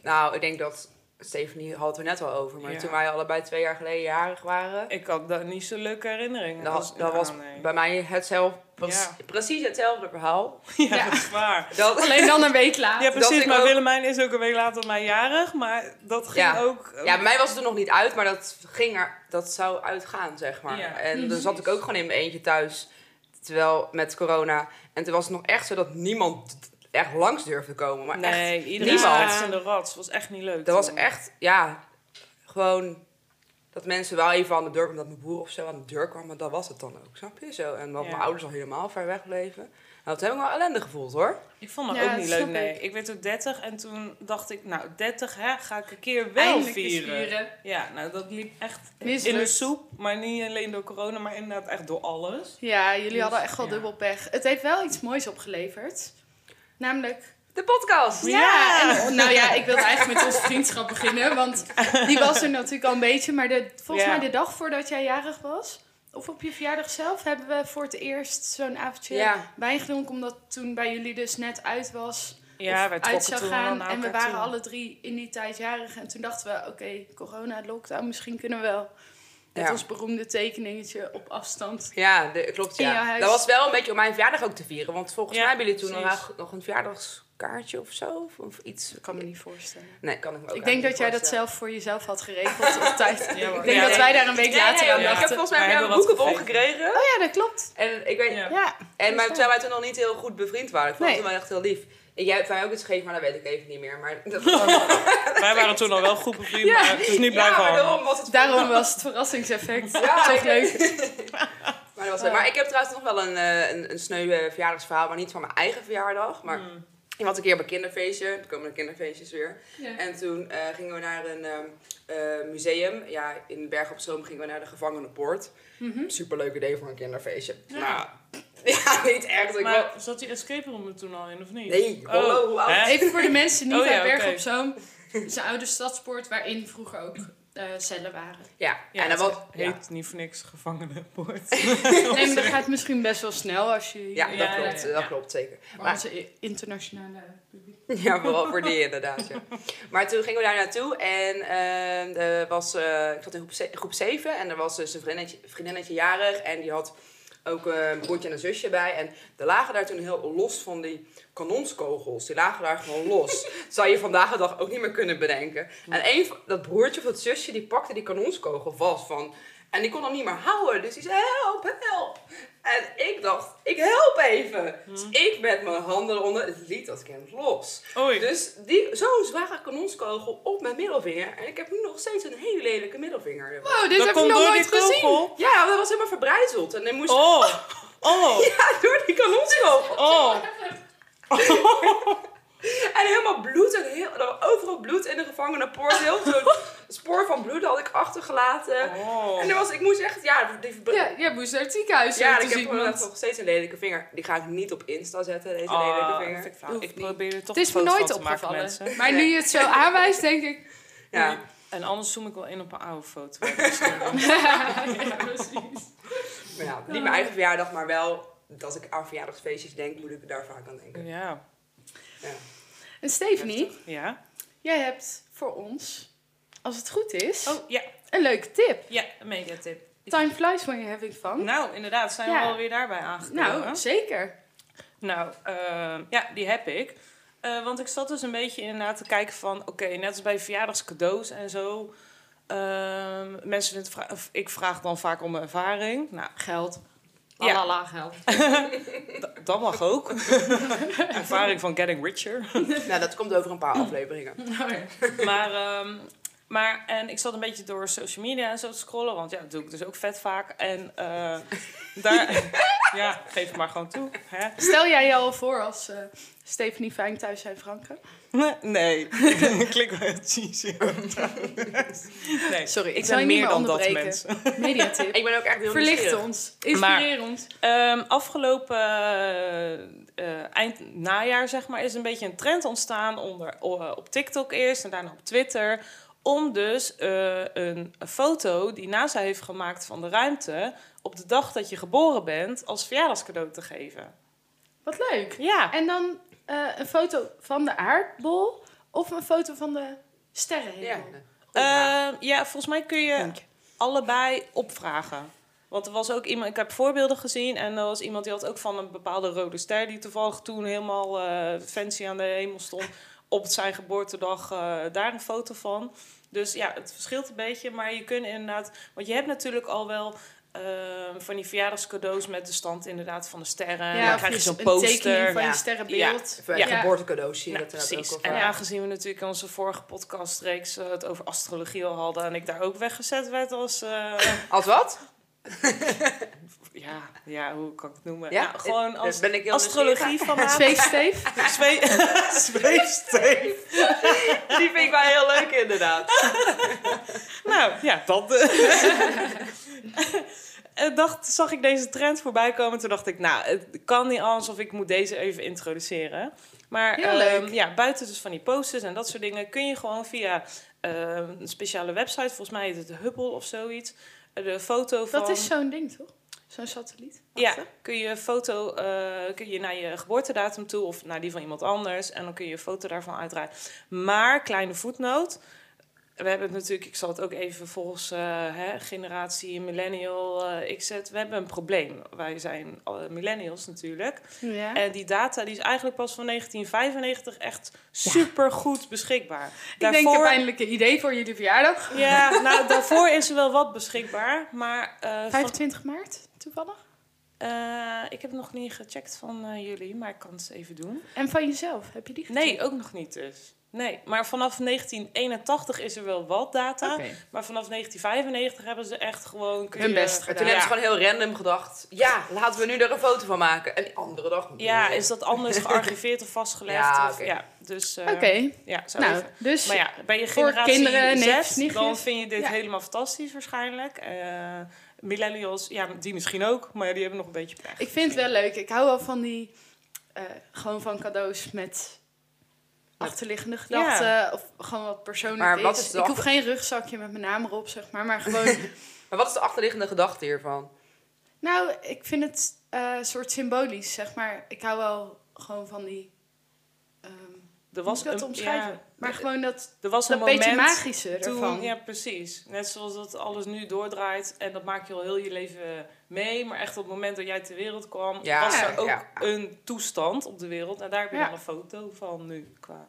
B: Nou, ik denk dat... Stephanie had het er net al over. Maar
D: Ja.
B: toen wij allebei twee jaar geleden jarig waren...
D: Ik had daar niet zo leuke herinneringen.
B: Nou, Dat was,
D: aan,
B: dat was
D: nee.
B: bij mij hetzelfde,
D: Ja.
B: precies hetzelfde verhaal.
D: Ja,
C: Ja.
D: dat is waar.
B: Dat,
C: Alleen dan een week later.
D: Ja,
B: Dat
D: precies.
B: ik
D: Maar
B: ook-
D: Willemijn is ook een week later dan mij jarig. Maar dat ging
B: Ja.
D: ook...
B: ja, bij mij was het er nog niet uit, maar dat, ging er, dat zou uitgaan, zeg maar.
D: Ja.
B: En dan zat ik
D: Precies.
B: ook gewoon in mijn eentje thuis, terwijl met corona. En toen was het nog echt zo dat niemand echt langs durfde komen. Maar echt,
D: nee, iedereen
B: niemand.
D: was in de rats. was echt niet leuk.
B: dat was
D: toen.
B: echt, ja, gewoon dat mensen wel even aan de deur, omdat mijn broer of zo aan de deur kwam, maar dat was het dan ook, snap je? Zo. En dat
D: Ja.
B: mijn ouders al helemaal ver weg bleven. Nou, dat heb ik wel ellende gevoeld, hoor.
D: Ik vond dat
C: Ja,
D: ook niet
C: dat
D: leuk,
C: snap
D: nee.
C: ik.
D: Ik werd toen 30 en toen dacht ik, nou, 30 hè, ga ik een keer wel
C: Eindelijk eens
D: vieren.
C: vieren.
D: Ja, nou, dat liep echt in de
C: Mislukt.
D: soep. Maar niet alleen door corona, maar inderdaad echt door alles.
C: Ja, jullie
D: Dus,
C: hadden echt wel
D: ja.
C: dubbel pech. Het heeft wel iets moois opgeleverd. Namelijk
B: De podcast!
D: Ja.
C: en, nou ja, ik wilde eigenlijk met onze vriendschap beginnen, want die was er natuurlijk al een beetje. Maar de, volgens
D: Ja.
C: mij de dag voordat jij jarig was, of op je verjaardag zelf, hebben we voor het eerst zo'n avondje
B: Ja.
C: wijn gedronken. Omdat toen bij jullie dus net uit was,
D: Ja,
C: of
D: wij
C: uit
D: trokken
C: zou
D: toen
C: gaan.
D: naar
C: En we
D: elkaar
C: waren
D: toe.
C: alle drie in die tijd jarig. En toen dachten we, oké, corona, lockdown, misschien kunnen we wel. Met
B: Ja.
C: ons beroemde tekeningetje op afstand.
B: Ja, de- klopt.
C: In jouw
B: Ja.
C: huis.
B: Dat was wel een beetje om mijn verjaardag ook te vieren. Want volgens
D: Ja,
B: mij hebben jullie toen
D: precies.
B: nog, nog een verjaardagskaartje of zo. Of, of iets.
C: Dat kan me niet voorstellen.
B: Nee, kan ik me ook
C: ik denk dat jij dat
B: zelf
C: zelf voor jezelf had geregeld op tijd.
D: Ja, hoor.
C: Ik denk
D: Ja,
C: dat
D: nee.
C: wij daar een week later aan
D: ja.
B: Ik heb
C: dachten.
B: volgens mij
D: Wij
B: bij jou een
D: hebben wat
B: boekenbon gekregen.
C: Oh ja, dat klopt.
B: En ik weet
D: Ja.
C: Ja.
B: En maar,
C: Dus
B: terwijl wij toen nog niet heel goed bevriend waren. Ik vond
C: Nee.
B: het wel echt heel lief. En jij hebt mij ook iets gegeven, maar dat weet ik even niet meer. Maar dat
D: Wij waren toen al wel goed bevriend,
B: Ja.
D: maar het is niet
B: ja,
D: blijven
B: maar
D: hangen.
B: daarom was het
C: Daarom was het verrassingseffect
B: Ja,
C: toch
B: ik-
C: leuk.
B: Maar, dat was leuk. maar ik heb trouwens nog wel een, eh, een, een sneu eh, verjaardagsverhaal. Maar niet van mijn eigen verjaardag. Maar
D: Hmm.
B: ik was een keer op een kinderfeestje. Er komen de kinderfeestjes weer. En toen eh, gingen we naar een ehm, eh, museum. Ja, in Bergen op Zoom gingen we naar de gevangenenpoort.
D: Mhm.
B: Superleuk idee voor een kinderfeestje. Ja, nou, ja niet echt. Ik
D: Maar
B: wil-
D: zat die escape room er toen al in, of niet?
B: Nee, hallo, hoe oud?
D: hè?
C: Even voor de mensen niet
D: Oh
C: uit
D: ja,
C: Bergen
D: oké.
C: op Zoom. Het is een oude stadspoort waarin vroeger ook eh, cellen waren.
B: Ja,
D: Ja,
B: en dat
D: het
B: was...
D: heet
B: Ja.
D: niet voor niks gevangenenpoort.
C: Nee, maar dat gaat misschien best wel snel als je...
B: Ja, dat
D: Ja, ja,
B: klopt,
D: ja,
B: dat
D: ja.
B: klopt zeker.
C: Maar onze i- internationale publiek.
B: Ja, vooral voor die inderdaad. Ja. Maar toen gingen we daar naartoe en ehm, er was, eh, ik zat in groep, ze- groep 7 en er was dus een vriendinnetje, vriendinnetje jarig en die had ook eh, een broertje en een zusje bij. En die lagen daar toen heel los van die kanonskogels. Die lagen daar gewoon los. Zou je vandaag de dag ook niet meer kunnen bedenken. En een van, dat broertje of dat zusje, die pakte die kanonskogel vast van... En die kon hem niet meer houden. Dus die zei, help, help. En ik dacht, ik help even. Dus ik met mijn handen eronder het liet dat kind los.
D: Oei.
B: Dus die- zo'n zware kanonskogel op mijn middelvinger. En ik heb nu nog steeds een hele lelijke middelvinger.
C: Wow, Oh, dit heb
D: Dat
C: ik
D: komt
C: nog
D: door
C: nooit
D: die
C: gezien.
D: kogel.
B: Ja, dat was helemaal verbrijzeld. En dan moest
D: Oh, oh,
B: ja, door die kanonskogel.
D: oh.
B: En helemaal bloed. En heel, er was overal bloed in de gevangenenpoort. Heel zo'n spoor van bloed had ik achtergelaten.
D: Oh.
B: En er was, ik moest echt, ja, die verbr-
C: Ja, jij moest naar het ziekenhuis.
B: Ja,
C: Ja, dus
B: en ik
C: te
B: heb
C: zien,
B: inderdaad
C: want
B: nog steeds een lelijke vinger. Die ga ik niet op Insta zetten, deze
D: Ah,
B: lelijke vinger.
D: ik, flauw.
C: Hoeft
D: ik
C: niet.
D: probeer er toch
C: Het is me
D: een foto
C: nooit
D: van te maken,
C: opgevallen.
D: mensen.
C: Maar nu je het zo aanwijst, denk ik...
B: Ja.
D: En anders zoom ik wel in op een oude foto.
C: ja, precies.
B: Maar ja, niet mijn eigen verjaardag, maar wel dat ik aan verjaardagsfeestjes denk, moet ik daar vaak aan denken.
D: ja.
B: Ja.
C: En Stephanie,
D: Ja.
C: jij hebt voor ons, als het goed is,
D: Oh, ja.
C: een leuke tip.
D: Ja, een mega tip.
C: Time flies when you're having fun.
D: Nou, inderdaad. Zijn
C: Oh. Ja.
D: we alweer daarbij aangekomen.
C: Nou, zeker.
D: Nou, eh, ja, die heb ik. Eh, want ik zat dus een beetje inderdaad te kijken van... Oké, net als bij verjaardagscadeaus en zo... ehm, mensen vinden het vra- of ik vraag dan vaak om mijn ervaring. Nou,
C: Geld.
D: Ja.
C: Lalala, geld.
D: d- dat mag ook. ervaring van getting richer.
B: Nou, dat komt over een paar afleveringen.
D: maar, ehm, maar en ik zat een beetje door social media en zo te scrollen, want ja, dat doe ik dus ook vet vaak. En eh, daar, ja, geef het maar gewoon toe. Hè?
C: Stel jij je al voor als eh Stephanie Fijn thuis zijn Franken?
D: Nee, klik wel het cheesy. Nee,
C: Sorry, ik
D: ik
C: zal je niet
D: ben meer
C: meer
D: dan dat
C: onderbreken.
D: mens.
C: Mediatip.
B: Ik ben ook echt heel
C: Verlicht
B: nieuwsgierig.
C: ons. Inspireer ons.
D: Ehm, afgelopen eh, eh, eind najaar, zeg maar, is een beetje een trend ontstaan onder, o- eh, op TikTok eerst en daarna op Twitter. Om dus eh, een foto die NASA heeft gemaakt van de ruimte op de dag dat je geboren bent als verjaardagscadeau te geven.
C: Wat leuk.
D: Ja,
C: En dan eh, een foto van de aardbol of een foto van de sterrenhemel.
B: Ja.
D: Ehm, ja volgens mij kun je allebei opvragen. Want er was ook iemand, ik heb voorbeelden gezien en er was iemand die had ook van een bepaalde rode ster, die toevallig toen helemaal eh, fancy aan de hemel stond, op zijn geboortedag eh, daar een foto van. Dus ja, het verschilt een beetje, maar je kunt inderdaad, want je hebt natuurlijk al wel eh, van die verjaardagscadeaus met de stand inderdaad van de sterren. en dan
C: of
D: krijg je zo'n
C: Een tekening
D: poster.
C: van
B: Ja.
C: je sterrenbeeld.
B: Of, eh,
D: Ja.
B: Geboortecadeaus zie je
D: Nou,
B: dat inderdaad
D: precies.
B: ook al
D: En
B: vaak.
D: aangezien we natuurlijk in onze vorige podcastreeks eh, het over astrologie al hadden en ik daar ook weggezet werd als. eh,
B: Als wat?
D: ja, ja, hoe kan ik het noemen?
B: Ja,
D: Ja, gewoon
B: eh,
D: als
B: ben ik heel
D: astrologie van
C: Het
D: Apen.
C: zweef, Steef.
D: Zwee- Zweefsteef.
B: Die vind ik wel heel leuk inderdaad.
D: Nou, ja, dat. eh dacht, zag ik deze trend voorbij komen. Toen dacht ik, nou, het kan niet anders of ik moet deze even introduceren. Maar
C: Heel
D: ehm,
C: leuk.
D: ja, buiten dus van die posters en dat soort dingen... kun je gewoon via ehm, een speciale website... volgens mij heet het Hubble of zoiets... eh, de foto van...
C: Dat is zo'n ding, toch? Zo'n satelliet.
D: Ja, kun je een foto eh, kun je naar je geboortedatum toe of naar die van iemand anders en dan kun je een foto daarvan uitdraaien. Maar kleine voetnoot. We hebben het natuurlijk, ik zal het ook even volgens eh, hè, generatie millennial eh XZ, we hebben een probleem. Wij zijn eh, millennials natuurlijk.
C: Ja.
D: En die data die is eigenlijk pas van 1995 echt super goed beschikbaar.
C: Ik denk een pijnlijke idee voor jullie verjaardag.
D: ja, nou, daarvoor is er wel wat beschikbaar, maar eh, van-
C: 25 maart, toevallig.
D: eh, ik heb nog niet gecheckt van eh, jullie, maar ik kan het even doen.
C: En van jezelf, heb je die gezien?
D: Nee, ook nog niet dus. Nee, maar vanaf 1981 is er wel wat data. Maar vanaf 1995 hebben ze echt gewoon... kun
C: Hun
D: je-
C: best
B: En
C: gedaan.
B: toen
D: Ja.
B: hebben ze gewoon heel random gedacht. Ja, laten we nu er een foto van maken. En die andere dag.
D: Ja, is dat anders gearchiveerd of vastgelegd?
B: Ja,
D: of-
B: oké.
D: ja dus... eh,
C: Oké,
D: Ja, zo
C: nou,
D: even.
C: dus
D: Maar ja, bij je
C: voor
D: generatie
C: kinderen,
D: Z,
C: neefjes, nichtjes.
D: dan vind je dit
C: Ja.
D: helemaal fantastisch waarschijnlijk. Eh, millennials, ja, die misschien ook, maar die hebben nog een beetje pech.
C: ik vind het wel leuk. Ik hou wel van die, eh, gewoon van cadeaus met achterliggende gedachten. Of gewoon wat persoonlijk
B: Maar wat is de
C: Ik hoef
B: achter-
C: geen rugzakje met mijn naam erop, zeg maar. Maar gewoon,
B: Maar wat is de achterliggende gedachte hiervan?
C: nou, ik vind het eh soort symbolisch, zeg maar. Ik hou wel gewoon van die... ehm was
D: Er was
C: ik dat
D: een,
C: omschrijven?
D: ja,
C: maar gewoon dat,
D: er was
C: dat
D: een
C: beetje
D: moment...
C: magische ervan.
D: Toen, ja, precies. Net zoals dat alles nu doordraait en dat maakt je al heel je leven mee. Maar echt op het moment dat jij ter wereld kwam,
B: Ja,
D: was er ook
B: ja.
D: een toestand op de wereld. En daar heb je
C: Ja.
D: dan een foto van nu qua.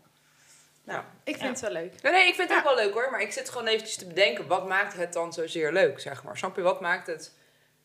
D: Nou,
C: Ik vind
D: Ja.
C: het wel leuk.
B: Nee, nee, ik vind het ook wel leuk hoor. Maar ik zit gewoon eventjes te bedenken. Wat maakt het dan zozeer leuk, zeg maar? Snap je, wat maakt het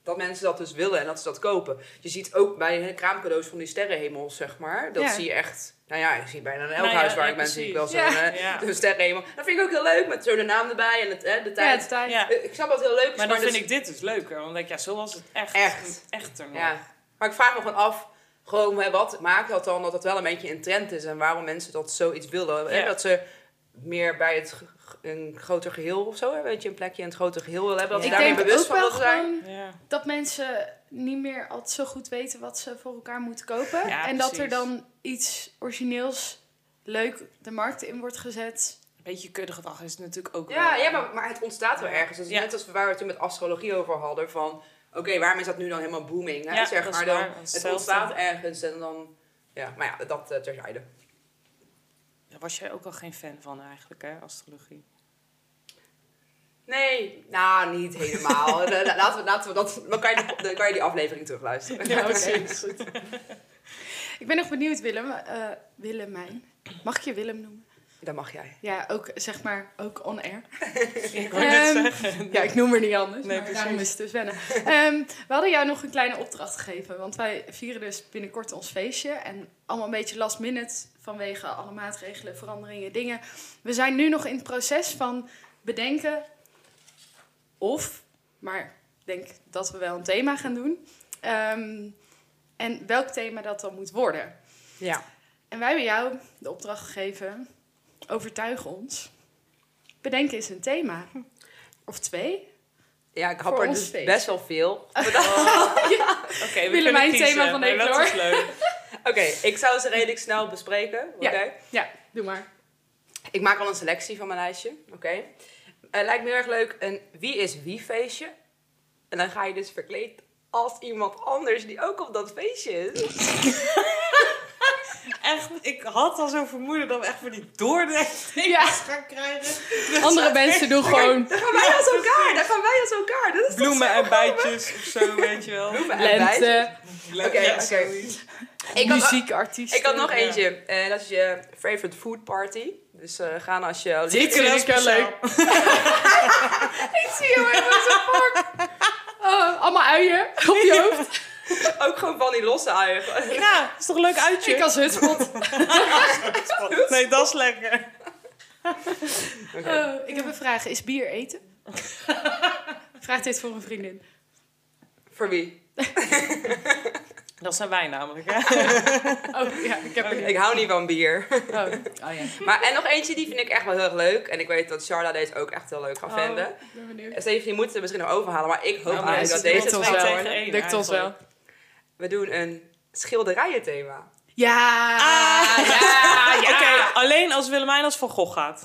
B: dat mensen dat dus willen en dat ze dat kopen? Je ziet ook bij de kraamcadeaus van die sterrenhemels, zeg maar. Dat
C: Ja.
B: zie je echt... Nou ja, je ziet bijna in elk
D: Nou ja,
B: huis waar
D: ja,
B: ik ben, zie ik wel
D: precies.
B: zo'n
C: Ja.
B: eh,
D: Ja.
B: zo'n sterrenhemel. Dat vind ik ook heel leuk, met zo de naam erbij en het, hè, de tijd.
C: Ja, tijd.
D: ja.
B: Eh, Ik snap dat het heel leuk is,
D: Maar dan
B: dat
D: vind ik dit dus leuker. Want dan denk ik, ja, zo was het echt.
B: Echt.
D: Echter nog.
B: Ja, maar ik vraag me gewoon af, gewoon, hè, wat maakt dat dan dat dat wel een beetje een trend is en waarom mensen dat zoiets willen? Hè,
D: Ja.
B: Dat ze meer bij het g- g- een groter geheel of zo, hè, weet je, een plekje in het groter geheel willen hebben. Dat
C: Ik
B: ze daarmee
C: denk
B: bewust
C: ook
B: van
C: wel
B: willen zijn.
C: gewoon
D: Ja.
C: dat mensen niet meer altijd zo goed weten wat ze voor elkaar moeten kopen.
D: Ja,
C: en dat er
D: precies.
C: dan iets origineels, leuk de markt in wordt gezet.
D: Een beetje kudde gedrag is het natuurlijk ook
B: Ja,
D: wel.
B: ja maar, maar het ontstaat wel ergens. Dat is
D: Ja.
B: net als waar we het toen met astrologie over hadden, van oké, waarom is dat nu dan helemaal booming? Hè?
D: Ja,
B: zeg
D: dat is
B: maar dan,
D: waar. Dat is
B: het
D: hetzelfde.
B: ontstaat ergens en dan, ja, maar ja, dat eh, terzijde.
D: Daar was jij ook al geen fan van eigenlijk, hè, astrologie?
B: Nee, nou, niet helemaal. Eh, la- laten we, laten we dat, dan kan je, die- dan kan je die aflevering terugluisteren.
C: Ja, precies. Ik ben nog benieuwd, Willem. eh Willemijn. Mag ik je Willem noemen?
B: Dat mag jij.
C: Ja, ook zeg maar, ook on air.
D: Ik wou net
C: Ehm,
D: zeggen.
C: Ja, ik noem er niet anders.
D: Nee,
C: maar
D: precies.
C: daarom is het dus wennen. Ehm, we hadden jou nog een kleine opdracht gegeven. Want wij vieren dus binnenkort ons feestje. En allemaal een beetje last minute vanwege alle maatregelen, veranderingen, dingen. We zijn nu nog in het proces van bedenken of, maar ik denk dat we wel een thema gaan doen. Ehm, en welk thema dat dan moet worden.
B: Ja.
C: En wij hebben jou de opdracht gegeven, overtuig ons. Bedenken is een thema. Of twee.
B: Ja, ik hap
C: Voor
B: er
C: ons
B: dus
C: feest.
B: best wel veel.
D: Oké, we
C: Willemijn thema
D: kunnen kiezen,
C: van de
D: maar
C: week,
D: dat
C: hoor.
D: is leuk.
B: Oké, ik zou ze redelijk snel bespreken. Oké.
C: Ja. Ja, doe maar.
B: Ik maak al een selectie van mijn lijstje. Oké. Eh, lijkt me heel erg leuk een wie is wie feestje. En dan ga je dus verkleed als iemand anders die ook op dat feestje is.
D: Echt, ik had al zo'n vermoeden dat we echt voor die doordenkers
C: Ja,
D: gaan krijgen.
C: andere mensen doen gewoon
B: Dan gaan wij als elkaar. Dan gaan wij als elkaar. Dat is toch
D: Bloemen
B: zo
D: en
B: grappig?
D: bijtjes of zo, weet je wel.
B: Bloemen en bijtjes.
C: lente,
D: Leuk,
B: Oké,
D: ja,
B: oké.
D: zoiets.
B: Ik had-
C: muziekartiesten.
B: Ik had nog
D: Ja.
B: eentje. En dat is je favorite food party. Dus eh gaan als je...
D: Dit
C: vind
D: is
C: ik wel
D: speciaal.
C: Ik zie jou even zo'n vork. Oh, allemaal uien op je hoofd.
B: Ook gewoon van die losse eieren.
D: Ja, is toch een leuk uitje?
C: Ik als hutspot.
D: Nee, dat is lekker.
C: Eh, ik heb een vraag. Is bier eten? Vraag dit voor een vriendin.
B: Voor wie?
D: Dat zijn wij namelijk, hè?
C: Oh, ja, ik heb er
B: Ik hou niet van bier.
C: niet. Oh, oh ja.
B: Maar en nog eentje, die vind ik echt wel heel erg leuk. En ik weet dat Charla deze ook echt heel leuk
C: Oh.
B: gaat vinden.
C: Ik ben benieuwd.
B: Steven, die moet het misschien nog overhalen. Maar ik hoop
D: Nou, maar
B: eigenlijk
D: ze
B: dat
D: doen
B: Oh deze
D: het
B: het
C: ons
B: gaat
C: wel,
B: worden.
D: tegen één
C: Lukt ons wel.
D: eigenlijk.
B: We doen een schilderijen thema.
C: Ja!
B: Ah, ja,
D: Ah, Oké, alleen als Willemijn als Van Gogh gaat.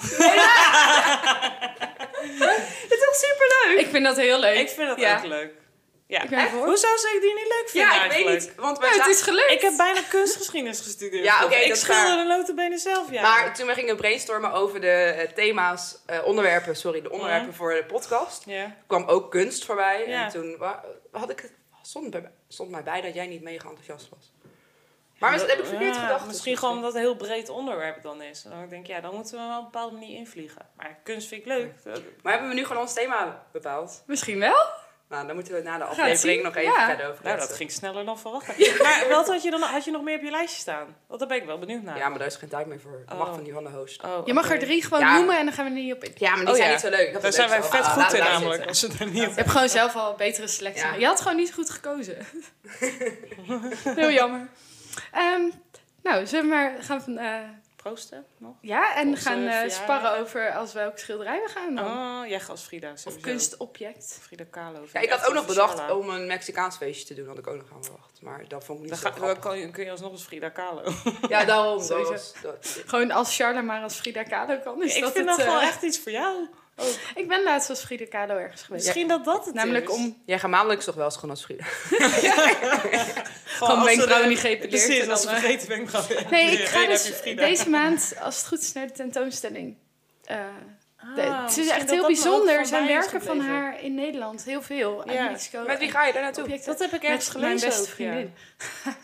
B: Dit is echt superleuk.
C: Ik vind dat heel leuk.
D: Ik vind dat
C: Ja.
D: ook leuk. Ja.
C: Ik ben ervoor.
D: Hoe zou ze die niet leuk vinden
B: Ja, ik weet
D: eigenlijk?
B: niet. Want wij
C: Ja, het
B: zaten-
C: is gelukt.
D: Ik heb bijna kunstgeschiedenis gestudeerd.
B: Ja, oké,
D: ik
B: dat is
D: schilder
B: waar.
D: de notabene zelf, ja.
B: Maar toen we gingen brainstormen over de eh, thema's, eh, onderwerpen, sorry, de onderwerpen voor de podcast,
D: Ja.
B: kwam ook kunst voorbij.
D: Ja.
B: En toen wa- had ik het, stond, bij, stond mij bij dat jij niet mega enthousiast was. Maar misschien heb ik verkeerd
D: Ja,
B: gedacht.
D: Misschien gewoon omdat het een heel breed onderwerp dan is. En dan denk ik, ja, dan moeten we wel op een bepaalde manier invliegen. Maar kunst vind ik leuk. Dat-
B: Maar hebben we nu gewoon ons thema bepaald?
C: Misschien wel.
B: Nou, dan moeten we het na de
C: het
B: aflevering
C: zien.
B: nog even
C: Ja.
B: verder over
D: Nou, dat
B: kletsen.
D: ging sneller dan verwacht. Maar wat had je, dan, had je nog meer op je lijstje staan? Want daar ben ik wel benieuwd naar.
B: Ja, maar daar is geen tijd meer voor. Dat mag
D: Oh.
B: van die van de host.
D: Oh,
C: Je mag er
D: oké.
C: drie Oh, gewoon
B: Ja.
C: noemen en dan gaan we er niet op in.
B: Ja, maar die
D: Oh,
B: zijn
D: ja.
B: niet zo leuk. Ik heb
D: Daar
B: het
D: zijn
B: leuk
D: wij
B: zelf.
D: vet
B: Ah,
D: goed in
B: laat- laat
D: namelijk.
B: zitten.
D: Als ze daar niet
C: Je hebt gewoon zelf al een betere selectie.
B: Ja.
C: Je had gewoon niet goed gekozen. Heel jammer. Ehm, nou, zullen we maar gaan van... eh,
D: Proosten nog?
C: ja, en
D: Onze
C: gaan eh,
D: verjaardag.
C: sparren over als welk schilderij we gaan dan.
D: Oh, jij als Frida
C: of
D: sowieso.
C: kunstobject.
D: Frida Kahlo. vind
B: Ja, ik had
D: echt
B: ook nog
D: een
B: bedacht
D: Charla.
C: oh,
B: om een Mexicaans feestje te doen. Had ik ook nog aan bedacht. Maar dat vond ik
D: Dan,
B: niet
D: ga,
B: zo
D: dan
B: grappig.
D: kan je, kun je alsnog eens Frida Kahlo.
B: Ja, daarom. Dat
C: Sowieso.
B: was, dat-
C: Gewoon als Charla maar als Frida Kahlo kan. Is
D: ik
C: dat
D: vind
C: het,
D: dat wel
C: eh, Oh,
D: echt iets voor jou.
C: Ik ben laatst als Frida Kahlo ergens geweest.
D: Misschien dat dat het
C: Namelijk
D: is.
C: om
B: Jij gaat maandelijks toch wel eens gewoon als vrienden?
C: gewoon
D: als ze
C: wenkbrauwen
D: de-
C: niet geëpileerd.
D: Precies,
C: en
D: als
C: dan,
D: ze
C: eh,
D: vergeten wenkbrauwen.
C: Nee, ik
D: Nee,
C: ga
D: dan
C: dus
D: heb je Frida.
C: deze maand, als het goed is, naar de tentoonstelling. eh,
D: Ah, Oh,
C: De- het is echt heel bijzonder. Er zijn werken van haar in Nederland. Heel veel.
D: Ja.
C: En Mexico.
B: Met wie ga je daar naartoe?
C: Objecten.
D: Dat heb ik
C: Met
D: ergens gelezen.
C: Mijn beste
D: over, ja.
C: vriendin.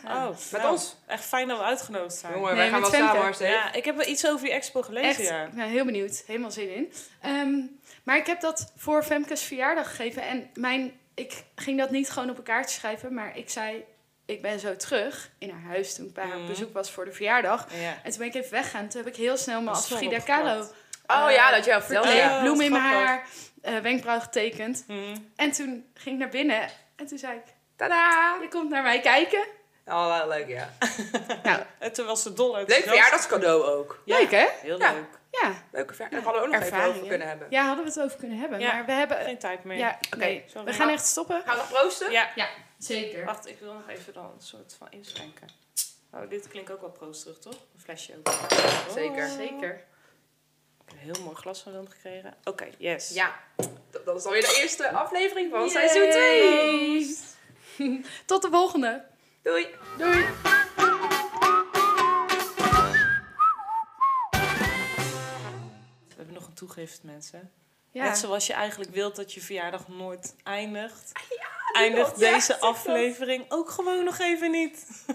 D: Oh,
B: Met
D: nou,
B: ons?
D: Echt fijn dat we uitgenodigd zijn.
B: Jongen, wij
C: Nee,
B: gaan wel
C: met
B: samen
C: Femke.
B: hartstikke.
D: Ja, ik heb wel iets over die expo gelezen.
C: Echt,
D: Ja.
C: ik ben heel benieuwd. Helemaal zin in. Ehm, maar ik heb dat voor Femke's verjaardag gegeven. En mijn, ik ging dat niet gewoon op een kaartje schrijven. Maar ik zei, ik ben zo terug in haar huis toen ik bij haar op
D: Mhm.
C: bezoek was voor de verjaardag.
D: Ja.
C: En toen ben ik even weggegaan. Toen heb ik heel snel me
D: Dat is
C: als
D: wel
C: Frida
D: opgeplakt.
C: Kahlo
B: Oh ja, dat jij vertelde.
D: Oh,
C: verkleed.
D: ja.
C: Bloem in mijn
D: grappig.
C: haar, eh, wenkbrauw getekend.
D: Mhm.
C: En toen ging ik naar binnen. En toen zei ik, "Oh,
B: Tadaa!
C: je komt naar mij kijken.
B: Oh, wel leuk, ja.
C: Nou,
D: En toen was ze dol
B: Leuk
D: enthousiast.
B: verjaardagscadeau ook.
D: Ja.
C: leuk hè?
D: Heel
B: Ja.
D: leuk.
C: Ja.
B: Leuke verjaardag.
C: Ja,
B: Daar hadden we ook nog even
C: ervaringen.
B: over kunnen hebben.
C: ja, hadden we het over kunnen hebben.
D: Ja.
C: Maar we hebben...
D: Geen tijd meer.
C: Ja,
D: Oké,
C: nee.
D: sorry.
C: We gaan echt stoppen.
B: Gaan we nog proosten?
D: Ja.
C: Zeker.
D: Wacht, ik wil nog even dan een soort van inschenken. Oh, dit klinkt ook wel proosterig, toch? Een flesje ook. Oh.
B: Zeker.
C: Zeker.
D: Ik heb een heel mooi glas van hem gekregen. Oké, yes.
B: Ja. Dat, dat is alweer de eerste aflevering van seizoen 2.
C: Yay. Tot de volgende.
B: Doei!
C: Doei.
D: We hebben nog een toegift, mensen.
C: Ja.
D: Net zoals je eigenlijk wilt dat je verjaardag nooit eindigt.
C: Ah,
B: klopt.
D: eindigt
B: Ja,
D: deze
B: dat klopt.
D: aflevering ook gewoon nog even niet.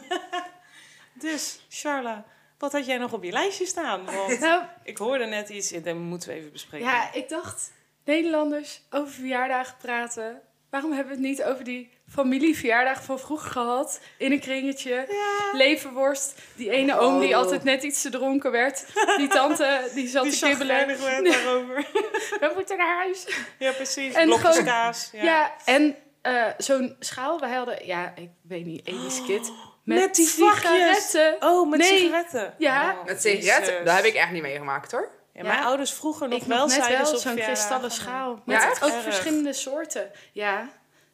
D: dus, Charla, wat had jij nog op je lijstje staan? Want
C: Nou,
D: ik hoorde net iets en dat moeten we even bespreken.
C: ja, ik dacht, Nederlanders over verjaardagen praten. Waarom hebben we het niet over die familieverjaardag van vroeger gehad? In een kringetje, levenworst. Die ene oom die
B: Oh.
C: altijd net iets te dronken werd. Die tante die zat
D: Die
C: te kibbelen.
D: chagrijnig werd daarover.
C: We moeten naar huis.
D: ja, precies.
C: En
D: Blokjes
C: gewoon-
D: kaas. Ja.
C: Ja, en eh, zo'n schaal. Wij hadden, ja, ik weet niet, Elis Kit. Met,
D: Oh, met die vakjes.
C: sigaretten.
D: Oh, met
C: Nee.
D: sigaretten.
C: Ja.
D: Oh,
B: Met sigaretten?
D: Jezus.
B: Dat heb ik echt niet meegemaakt hoor.
D: Ja, mijn
C: Ja.
D: ouders vroeger nog
C: Oh, ik
D: wel
C: nog net
D: zeiden
C: wel
D: ze op
C: zo'n
D: verjaardagen.
C: kristallen schaal.
B: Ja,
C: Met
B: echt?
C: ook
D: Erg.
C: verschillende soorten. Ja,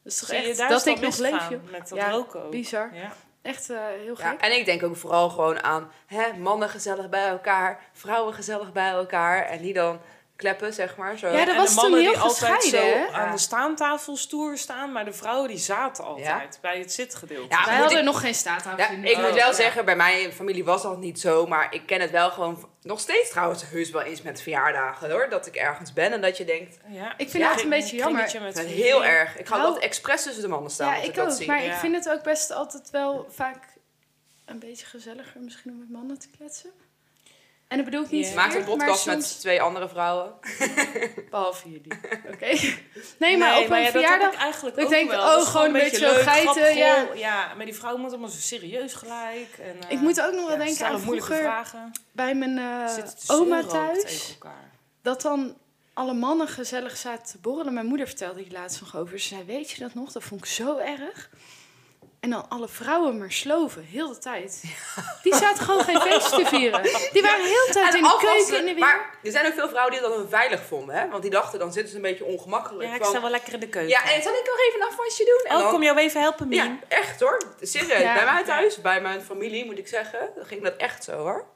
C: dat is toch
D: Zie je,
C: echt
D: daar
C: dat
D: is het
C: ik
D: al
C: nog leef.
D: misgegaan
C: joh.
D: Met dat
C: Ja,
D: roken ook.
C: Bizar.
D: Ja.
C: Echt eh, heel gek.
B: Ja, en ik denk ook vooral gewoon aan hè, mannen gezellig bij elkaar, vrouwen gezellig bij elkaar en die dan kleppen, zeg maar. Zo.
C: Ja, dat
D: Eh, en
C: was
D: de
C: toen
D: mannen
C: heel
D: die altijd
C: gescheiden,
D: zo
C: hè?
D: aan
B: Ja.
D: de staantafel stoer staan, maar de vrouwen die zaten altijd bij het zitgedeelte.
B: Ja,
C: Wij
B: moet
C: hadden
B: ik-
C: nog geen staathouding.
B: Ja, ik moet wel zeggen, bij mijn familie was dat niet zo, maar ik ken het wel gewoon. v- Nog steeds trouwens heus wel eens met verjaardagen hoor. Dat ik ergens ben en dat je denkt,
D: Ja.
C: Ik vind
B: Ja,
C: het een beetje jammer.
D: kringetje met
B: dat is
D: vrienden.
B: heel erg. Ik ga
C: Nou-
B: altijd expres tussen de mannen staan.
C: Ja,
B: als
C: ik
B: dat
C: ook.
B: zie.
C: Maar
D: Ja.
C: ik vind het ook best altijd wel vaak een beetje gezelliger misschien om met mannen te kletsen. En dat bedoel ik niet
D: Ja.
B: Maak een
C: verkeerd,
B: podcast
C: maar
B: met
C: soms-
B: twee andere vrouwen.
C: Behalve jullie. Oké. Nee, maar op mijn
D: ja, dat heb
C: verjaardag...
D: ik eigenlijk
C: dat ik
D: ook
C: denk,
D: wel.
C: oh,
D: Dat is
C: gewoon een beetje
D: leuk,
C: zo geiten,
D: grappig,
C: ja.
D: goh. Ja, maar die vrouwen moeten allemaal zo serieus gelijk. En, eh,
C: Ik moet ook nog
D: ja,
C: wel denken
D: stellen
C: aan
D: moeilijke
C: vroeger
D: vragen.
C: bij mijn eh,
D: Zitten te
C: oma
D: zeuren ook
C: thuis.
D: tegen elkaar.
C: dat dan alle mannen gezellig zaten te borrelen. Mijn moeder vertelde hier laatst nog over. Ze zei, weet je dat nog? Dat vond ik zo erg. En dan alle vrouwen maar sloven, heel de tijd. Die zaten gewoon geen feest te vieren. Die waren heel de tijd in de
B: alvast-
C: keuken, in de winkel.
B: maar er zijn ook veel vrouwen die dat dan veilig vonden, hè? Want die dachten, dan zitten ze een beetje ongemakkelijk.
D: Ja, ik
B: van,
D: sta wel lekker in de keuken.
B: ja en zal ik nog even een afwasje doen? En
D: Oh,
B: dan-
D: kom jou even helpen, Mien?
B: Ja, echt hoor. Serieus.
C: Ja.
B: Bij mij thuis, bij mijn familie moet ik zeggen, dan ging dat echt zo hoor.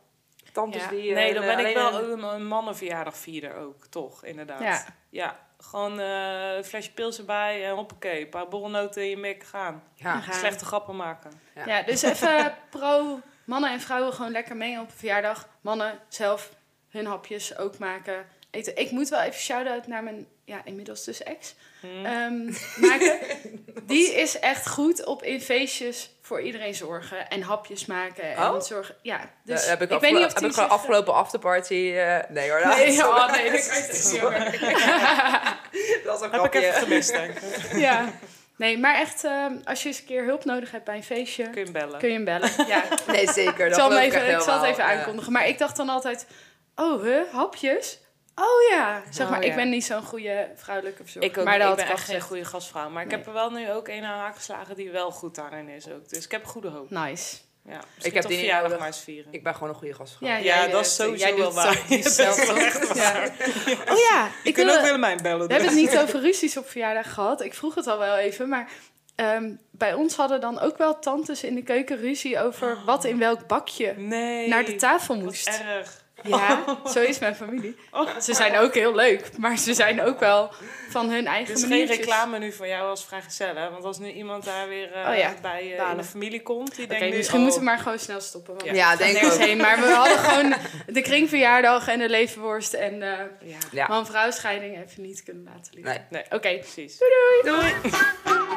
B: Tantes
D: Ja.
B: die. eh,
D: nee, dan ben ik
B: alleen
D: wel
B: een-
D: een, een mannenverjaardag vierder ook, toch? Inderdaad.
C: Ja.
D: Ja, gewoon eh, een flesje pils erbij en hoppakee. Een paar borrelnoten in je mek gaan.
B: Ja.
C: Gaan.
D: Slechte grappen maken.
B: Ja.
C: Ja, dus even pro mannen en vrouwen gewoon lekker mee op een verjaardag. Mannen zelf hun hapjes ook maken. Eten. Ik moet wel even shout-out naar mijn, ja, inmiddels dus ex.
B: Hmm.
D: Hm.
C: ehm, maken. Die is echt goed op in feestjes voor iedereen zorgen en hapjes maken. En
B: Oh?
C: zorgen. Ja,
B: Dus
C: dus
B: heb ik,
C: ik weet niet of
B: heb
C: die
B: ik gewoon
C: zich-
B: afgelopen afterparty. eh, nee hoor, dat,
C: Nee,
B: dat
C: oh, nee, dat is echt niet hoor.
B: was een
D: Heb ik
B: grapje.
D: even gemist, denk ik.
C: Ja. Nee, maar echt, ehm, als je eens een keer hulp nodig hebt bij een feestje,
D: Kun je bellen.
C: kun je hem bellen. Ja,
B: Nee, zeker.
C: ik
B: Dat
C: zal, hem
B: geloof
C: even,
B: echt
C: ik zal het even
B: helemaal, ja.
C: aankondigen. Maar ik dacht dan altijd, oh, huh, hapjes? Oh ja. Zeg
D: Oh,
C: maar,
D: ja.
C: ik ben niet zo'n goede vrouwelijke verzorger.
D: Ik, ook,
C: maar
D: maar
C: dat
D: ik
C: had
D: ben
C: ik al
D: echt geen
C: gezegd.
D: goede gastvrouw. Maar ik
C: Nee.
D: heb er wel nu ook een aan haak geslagen die wel goed daarin is ook. Dus ik heb goede hoop.
C: Nice.
D: Ja,
B: heb
D: misschien
B: die
D: toch
B: niet
D: verjaardag
B: nodig.
D: maar eens vieren.
B: Ik ben gewoon een goede gastvrouw.
C: Ja,
D: Ja,
C: jij,
D: dat is
C: eh,
D: sowieso
C: jij doet
D: wel waar.
C: het zelf
D: Dat is wel
C: ook.
D: echt
C: Ja. Oh ja, ik wilde,
D: Willemijn bellen.
C: We hebben het niet over ruzies op verjaardag gehad. Ik vroeg het al wel even, maar ehm, bij ons hadden dan ook wel tantes in de keuken ruzie over wat in welk bakje
D: Oh. dus- Nee.
C: naar de tafel
D: Wat
C: moest.
D: erg. Oh.
C: Ja, zo is mijn familie. Ze zijn ook heel leuk, maar ze zijn ook wel van hun eigen
D: Dus geen
C: maniertjes.
D: reclame nu voor jou als vrijgezel, hè? Want als nu iemand daar weer eh,
C: Oh ja,
D: bij eh, in de
C: balen.
D: familie komt, die
C: Oké,
D: denkt nu...
C: misschien
D: oh,
C: moeten we maar gewoon snel stoppen. Want
D: Ja.
C: ja.
B: Ja, denk ik
C: nergens
B: ook.
C: heen. Maar we hadden gewoon de kringverjaardag en de levenworst en eh, de
D: Ja,
B: Ja.
C: man-vrouw scheiding even niet kunnen laten liggen.
B: Nee.
D: nee,
C: Oké,
D: precies.
B: Doei.